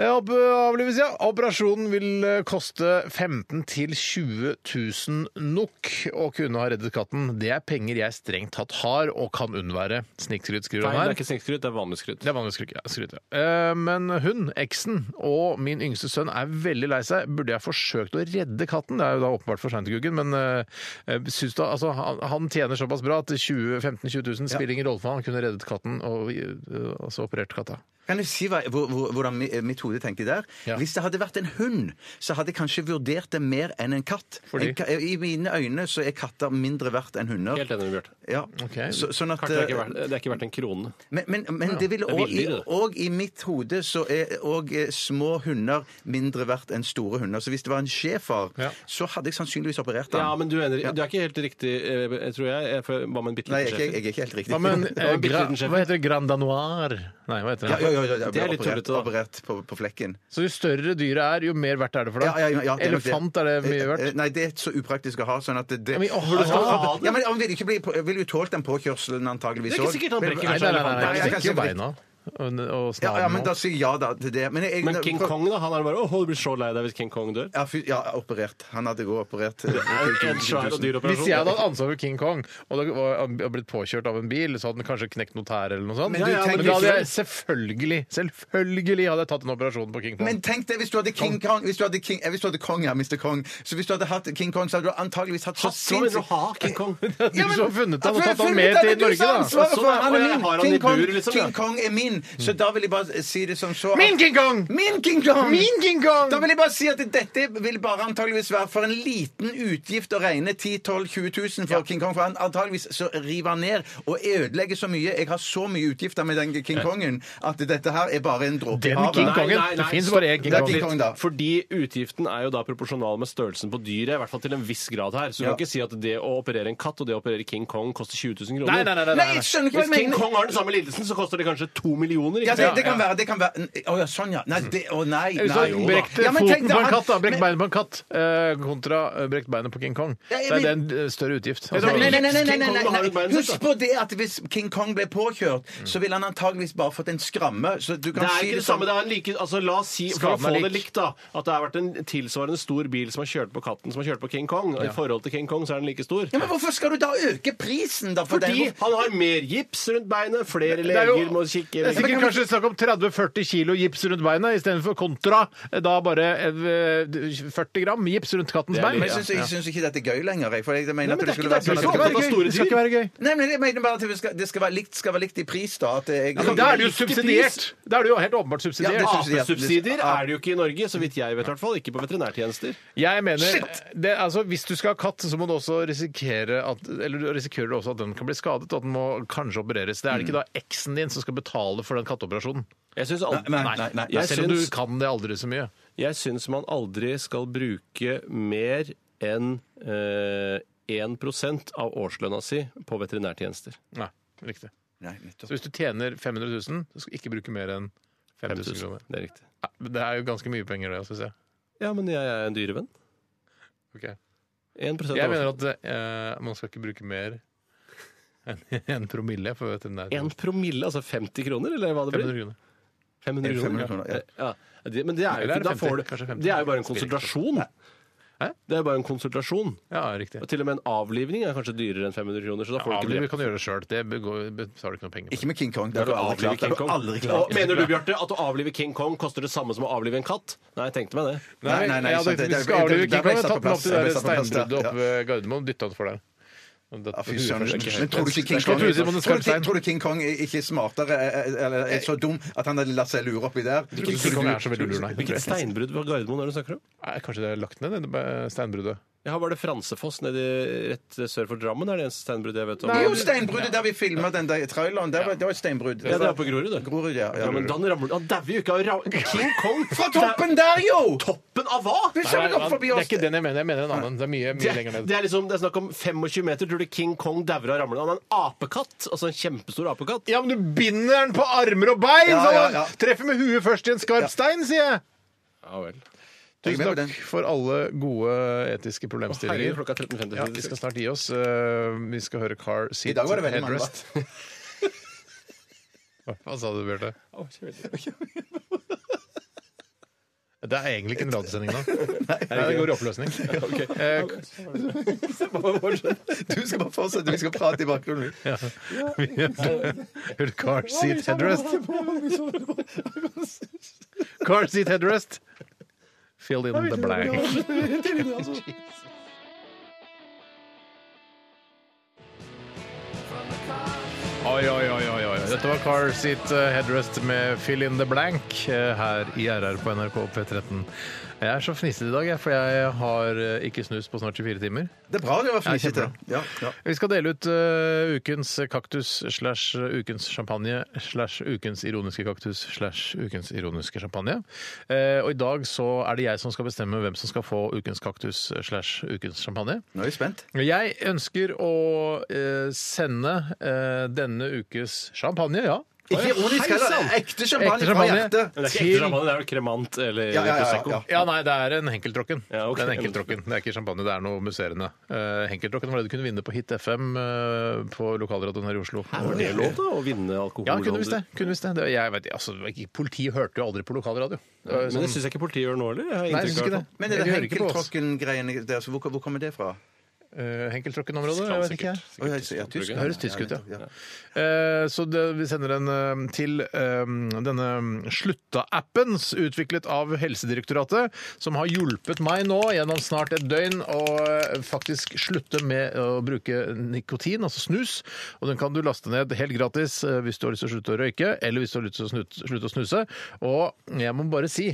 Eh, opp- Avlives, ja. Operasjonen vil eh, koste 15 000-20 000 nok å kunne ha reddet katten. Det er penger jeg strengt tatt har og kan unnvære. Snikskryt skriver han Nei, det er her. ikke snikskryt, det er vanlig skryt. Det er vanlig skryt, ja. skryt, ja. Eh, Men hun, eksen, og min yngste sønn er veldig lei seg. Burde jeg forsøkt å redde katten? Det er jo da åpenbart for seint, Guggen, men eh, jeg synes da, altså, han, han tjener såpass bra at 20 15 000-20 000 spiller ingen rolle for ham. Han kunne reddet katten og eh, altså operert katta. Kan du si hva, hvor- hvor- hvordan mi- eh, mitt hode tenkte der? Ja. Hvis det hadde vært en hund, så hadde jeg kanskje vurdert det mer enn en katt. Fordi? En ka eh, I mine øyne så er katter mindre verdt enn hunder. Helt enig med Bjarte. Ja. Ok. Så, sånn at, Kartet er ikke verdt- Det er ikke verdt en krone. men men, men det vil Det er og, i, billigere, det. og i mitt hode så er òg små hunder mindre verdt enn store hunder. Så hvis det var en schæfer, Ja. så hadde jeg sannsynligvis operert den. Ja, men du, mener, du er ikke helt riktig, eh, tror jeg. Eh, for- Hva med en bitte Nei, liten jeg, er ikke- schæfer? jeg er ikke helt riktig. Hva med en, eh, en bitte gra, liten sjef. hva heter det? Grand Danoir? Nei, hva heter ja, det? ja, ja, ja, jeg Det er ble litt operert, tullete, da. operert på, på flekken. Så jo større dyret er, jo mer verdt er det for deg? Ja, ja, ja, det er nok det. Elefant er det mye Eh, eh, verdt? Nei, det er så upraktisk å ha. sånn at det... Ja, men, åh, Altså, skal du ha ja, men Han vil, ikke bli, vil jo tålt den påkjørselen antageligvis Det er ikke også. sikkert han brekker Nei, nei, nei, nei, Nei, nei. jeg stikker jo kan ikke- beina og, og Ja, ja, snaren men da sier jeg ja da, til det. Men, jeg, Men King Kong, da? Han er bare 'Å, du blir så lei deg hvis King Kong dør'. Ja, fy, ja, operert. Han hadde gått operert. eh, En svær og dyr Hvis operasjon. jeg hadde hatt ansvar for King Kong og det var hadde blitt påkjørt av en bil, så hadde den kanskje knekt noen tær eller noe sånt. Men du ja, ja, men tenker da hadde ikke- jeg selvfølgelig selvfølgelig hadde jeg tatt en operasjon på King Kong. Men tenk deg hvis du hadde King Kong Hvis du hadde, King, eh, hvis du hadde Kong, ja, Mr. Kong Så hvis du hadde hatt King Kong, så hadde du antageligvis hatt så Hatt, Hva mener du ha, King Kong? du som har funnet han og Ja, men- tatt han funnet med han, til men du Norge, sa da. Altså, ansvaret for Sånn er- han, han er og jeg min. har han King i Kong- bur, liksom, ja. King Kong er min, så da vil jeg bare si det som så at- Mm. Min King Kong! Min King Kong! Min King Kong! Da vil jeg bare si at dette vil bare antageligvis være for en liten utgift å regne 10 12 20 000 for King Kong. For han antageligvis så river han ned og ødelegger så mye. Jeg har så mye utgifter med den King Kongen at dette her er bare en dråpe i Den King havet. Nei, Kongen. nei, Det nei, fins stopp. bare én King Det er Kong. King Kong, da. Fordi utgiften er jo da proporsjonal med størrelsen på dyret, i hvert fall til en viss grad her. Så du Ja. kan ikke si at det å operere en katt og det å operere King Kong koster 20 000 Nei, nei, kroner. nei, nei, nei, Nei, jeg nei. skjønner ikke hva Hvis jeg King mener. Kong har den samme lidelsen, så koster det kanskje to millioner. Ja, det, Ikke? sant? det kan være. det kan være Å ja, sånn, ja. Nei, det, å Hvis nei. du nei sånn har jo da. brekt Ja, men tenk foten deg, på en han- katt, da. Brekt men- beinet på en katt eh, kontra eh, brekt beinet på King Kong. Ja, Det jeg er vil- en eh, større utgift. Altså, Nei, nei, nei, nei, nei, sånn- King Kong nei, har jo sånn- nei, beinet nei. sitt, Husk på det at hvis King Kong ble påkjørt, så ville han antageligvis bare fått en skramme. Så du kan Det er si ikke det som- samme. det er en like, altså La oss si for å Skaden er få det lik. likt da, at det har vært en tilsvarende stor bil som har kjørt på katten som har kjørt på King Kong. og I forhold til King Kong så er den like stor. Ja, men Hvorfor skal du da øke prisen, da? For Fordi den? han har mer gips rundt beinet, flere er jo- leger må kikke Det er sikkert kanskje snakk om 30-40 kilo gips rundt beina istedenfor kontra eh, da bare eh, 40 gram gips rundt kattens Det er bein. Men jeg syns, jeg syns ikke dette er gøy lenger. jeg, For jeg mener Nei, men at det er det skulle ikke være det. sånn Det skal ikke være gøy. at Det skal ikke være gøy. Nei, men jeg mener bare at det skal, det skal være likt, skal være likt i pris, da. At jeg, Men Da er det jo subsidiert! Da er det jo helt åpenbart Ja, det subsidiert. er subsidiert. Apesubsidier er det jo ikke i Norge, så vidt jeg vet i hvert fall. Ikke på veterinærtjenester. Jeg mener, det, altså, Hvis du skal ha katt, så må du også risikere at eller du risikerer også at den kan bli skadet, og at den må kanskje opereres. Det er det ikke da eksen din som skal betale for den katteoperasjonen. Jeg syns aldri, Nei, nei, nei, nei. Jeg Selv om du syns- kan det aldri så mye. jeg syns man aldri skal bruke mer enn eh, 1 av årslønna si på veterinærtjenester. Nei, riktig. Nei, nettopp. Så hvis du tjener 500 000, så skal du ikke bruke mer enn 5000 kroner. Det er riktig. Ja, men Det er jo ganske mye penger, det, syns jeg. Ja, men jeg er en dyrevenn. Ok. 1 av Jeg mener årslønna. at eh, man skal ikke bruke mer enn en promille for veterinær. 1 promille, altså 50 kroner, eller hva det blir? 500 kroner. 500 500 kroner, kroner, ja. Ja, det, men det er jo Eller er ikke, det 50? da får du, Kanskje 50? det er jo bare en konsultasjon. Hæ? Det er jo bare en konsultasjon. Ja, riktig. Og til og med en avlivning er kanskje dyrere enn 500 kroner. Så da får du ikke Avliv det. kan du gjøre det sjøl. Det begår- betaler du ikke noe penger for. Ikke med King Kong. Det har du aldri Avlive klart. Det King har du Kong. aldri klart. Og Mener du, Bjarte, at å avlive King Kong koster det samme som å avlive en katt? Nei, jeg tenkte meg det. Nei, nei, nei, jeg hadde, sant, hvis du det- det- skal avlive det- det- King Kong, det- hadde det- tatt den opp til det- det det- det- det- det- steinbruddet det- oppe ved Gardermoen og dytta den for deg. Og det- Ja, fy huet søren. først, ikke Men helt. tror du ikke King Jeg Kong tror du sier på den tror du, skarpe steinen. tror du King Kong er ikke smartere eh, eller er så dum at han hadde latt seg lure opp i det? Jeg tror ikke King Kong er så veldig lur, nei. Hvilket Tror jeg. steinbrudd ved Gardermoen er det du snakker om? Nei, Kanskje det er lagt ned, det eh, steinbruddet. Jeg har bare det Fransefoss nede rett sør for Drammen. er det eneste steinbruddet jeg vet om. Det er jo steinbruddet der vi filma den der traileren. Der var, det var et steinbrudd. Ja, det er på Grorud, det. Grorud, ja. ja. Ja, men Dan ramler Han dauer jo ikke av ra- King Kong! Fra toppen der, jo! Toppen av hva?! Vi kjører opp forbi det er oss. ikke den jeg mener, jeg mener en annen. Det er mye, Det mye lenger er, ned. det er liksom, det er snakk om 25 meter. Tror du King Kong dauer av ramlene? Han er en apekatt. Altså en kjempestor apekatt. Ja, men du binder den på armer og bein! Ja, så ja, han ja. Treffer med huet først i en skarp stein, sier jeg! Ja vel. Jeg er Tusen med på takk for alle gode etiske Herregud, problemstillinger. klokka er 13.50. Ja, vi skal snart gi oss. Eh, Vi skal høre Car Seat I dag var det veldig mange Headrest. Hva sa du, Bjarte? Det er egentlig ikke en radiosending nå. Nei, det går i oppløsning. Eh, Du skal bare fortsette, vi skal prate i bakgrunnen. ja. Vi hørte- hørte Car seat headrest. Car seat headrest. Fill in the blank. Oi, oi, oi, oi, oi. Dette var Car Seat eh, Headrest med Fill in the Blank eh, her i RR på NRK P13. Jeg er så fnisete i dag, jeg, for jeg har eh, ikke snus på snart 24 timer. Det er bra du var Ja, fnisete. kjempebra. Ja, ja. Vi skal dele ut eh, ukens kaktus slash ukens champagne slash ukens ironiske kaktus slash ukens ironiske champagne. Eh, og i dag så er det jeg som skal bestemme hvem som skal få ukens kaktus slash ukens champagne. Nå er jeg spent. Jeg ønsker å eh, sende eh, denne ukes champagne, ja. Ikke ironisk heller. Ekte champagne Ekte fra champagne. hjertet. Men det er ikke Til- ekte champagne, det er vel kremant eller Ja, ja, ja, prosecco. ja. Ja, nei, det er en Henkeltråkken. Ja, ok. Det er en Henkeltråkken. Det er ikke champagne, det er noe musserende. Uh, Henkeltråkken var det du kunne vinne på Hit FM eh, på lokalradioen her i Oslo. Hæ, var det lov, da? Å vinne alkohol? Ja, kunne visst det. Kunne visst det. det jeg vet, altså, det var ikke- politiet hørte jo aldri på lokalradio. Det var jo Men det sånn- syns jeg ikke politiet gjør nå, eller? Jeg har Nei, jeg inntrykk syns av ikke det. det. Men er De det hører ikke på oss. Henkeltråkken-greiene der, så hvor, hvor kommer det fra? Eh, Henkeltråkken-området? Jeg vet ikke. jeg. Å, ja, ja, tysk. Det høres tysk ut, ja. nettopp, Eh, Så det, vi sender den eh, til eh, denne Slutta-appen, s- utviklet av Helsedirektoratet, som har hjulpet meg nå gjennom snart et døgn å eh, faktisk slutte med å bruke nikotin, altså snus. Og den kan du laste ned helt gratis eh, hvis du har lyst til å slutte å røyke, eller hvis du har lyst til å snu- slutte å snuse. Og jeg må bare si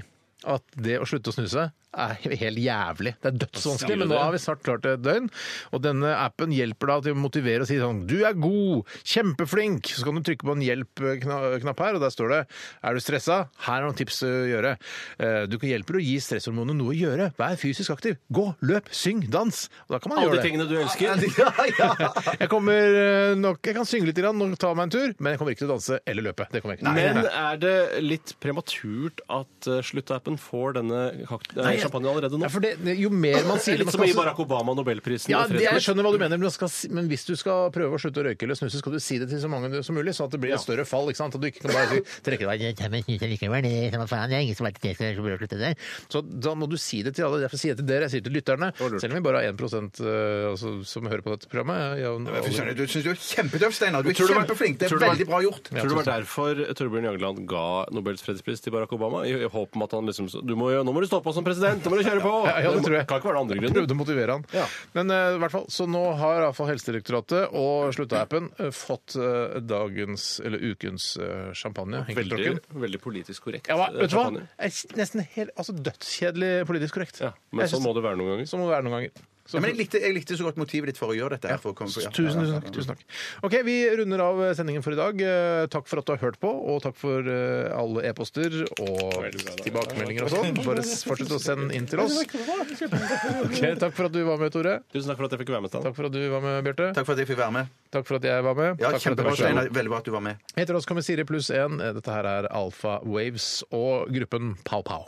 at det å slutte å snuse er helt jævlig. Det er dødsvanskelig, men nå har vi snart klart et døgn. Og denne appen hjelper da til å motivere og si sånn Du er god! Kjempeflink! Så kan du trykke på en hjelp-knapp her, og der står det Er du stressa? Her er noen tips å gjøre. Eh, Du kan hjelpe å gi stresshormonene noe å gjøre. Vær fysisk aktiv. Gå, løp, syng, dans. Og da kan man gjøre Alle de det. tingene du elsker. Jeg kommer eh, nok Jeg kan synge litt grann og ta meg en tur, men jeg kommer ikke til å danse eller løpe. Det kommer jeg ikke til. Men er det litt prematurt at eh, sluttappen får denne kakt- eh, champagnen allerede nå? Ja, for det, jo mer man Det sier er litt man som å skal gi også- Barack Obama Nobelprisen. Ja, i det, fredspris. jeg skjønner hva du mener, men, man skal, si- men hvis du skal prøve å slutte å røyke eller snuse, skal du si det til så mange som mulig, sånn at det blir et større fall. ikke sant? At du ikke kan bare si, trekke deg. Jeg tar meg snus likevel, det er samme faen, det er ingen som vet at jeg skal prøve å slutte der. Så da må du si det til alle. Derfor sier jeg til dere, jeg sier til lytterne, selv om vi bare er 1 eh, altså, som hører på dette programmet. Ja, Ja, fy søren, Du syns du er kjempetøff, Steinar. Du er Tror du det var- kjempeflink. Det tror er du det var- veldig bra gjort. Tror du det var derfor Torbjørn Jagland ga Nobels fredspris til Barack Obama? I, i håp om at han liksom så- du må, jo- Nå må du stå på som president! Nå må du kjøre på! Ja, ja, det tror jeg. Kan ikke være den andre grunnen. Prøvde å motivere han. Ja. Men eh, i hvert fall, så nå har iallfall Helsedirektoratet og Slutta-appen eh, fått eh, dagens, eller ukens, eh, champagne. Veldig, Henkeltråkken. veldig politisk korrekt. Ja, hva- eh, vet du hva? champagne. Jeg er Nesten helt, altså Dødskjedelig politisk korrekt. Ja, men Jeg sånn synes- må det være noen ganger. Sånn må det være noen ganger. Så- Ja, men jeg likte, jeg likte så godt motivet ditt for å gjøre dette. her. For å komme, ja. Tusen, tusen takk. tusen takk. Ok, Vi runder av sendingen for i dag. Eh, Takk for at du har hørt på, og takk for eh, alle e-poster og tilbakemeldinger og sånn. Bare s- fortsett å sende inn til oss. Ok, takk for at du var med, Tore. Tusen takk for at jeg fikk være med. Stan. Takk for at du var med, Bjarte. Takk for at jeg fikk være med. Takk for at jeg var med. Ja, Takk for at jeg var kjempebra, med. Steinar. Veldig bra at du var med. Heter oss Kommer Siri pluss 1. Dette her er Alfa Waves og gruppen Pow Pow.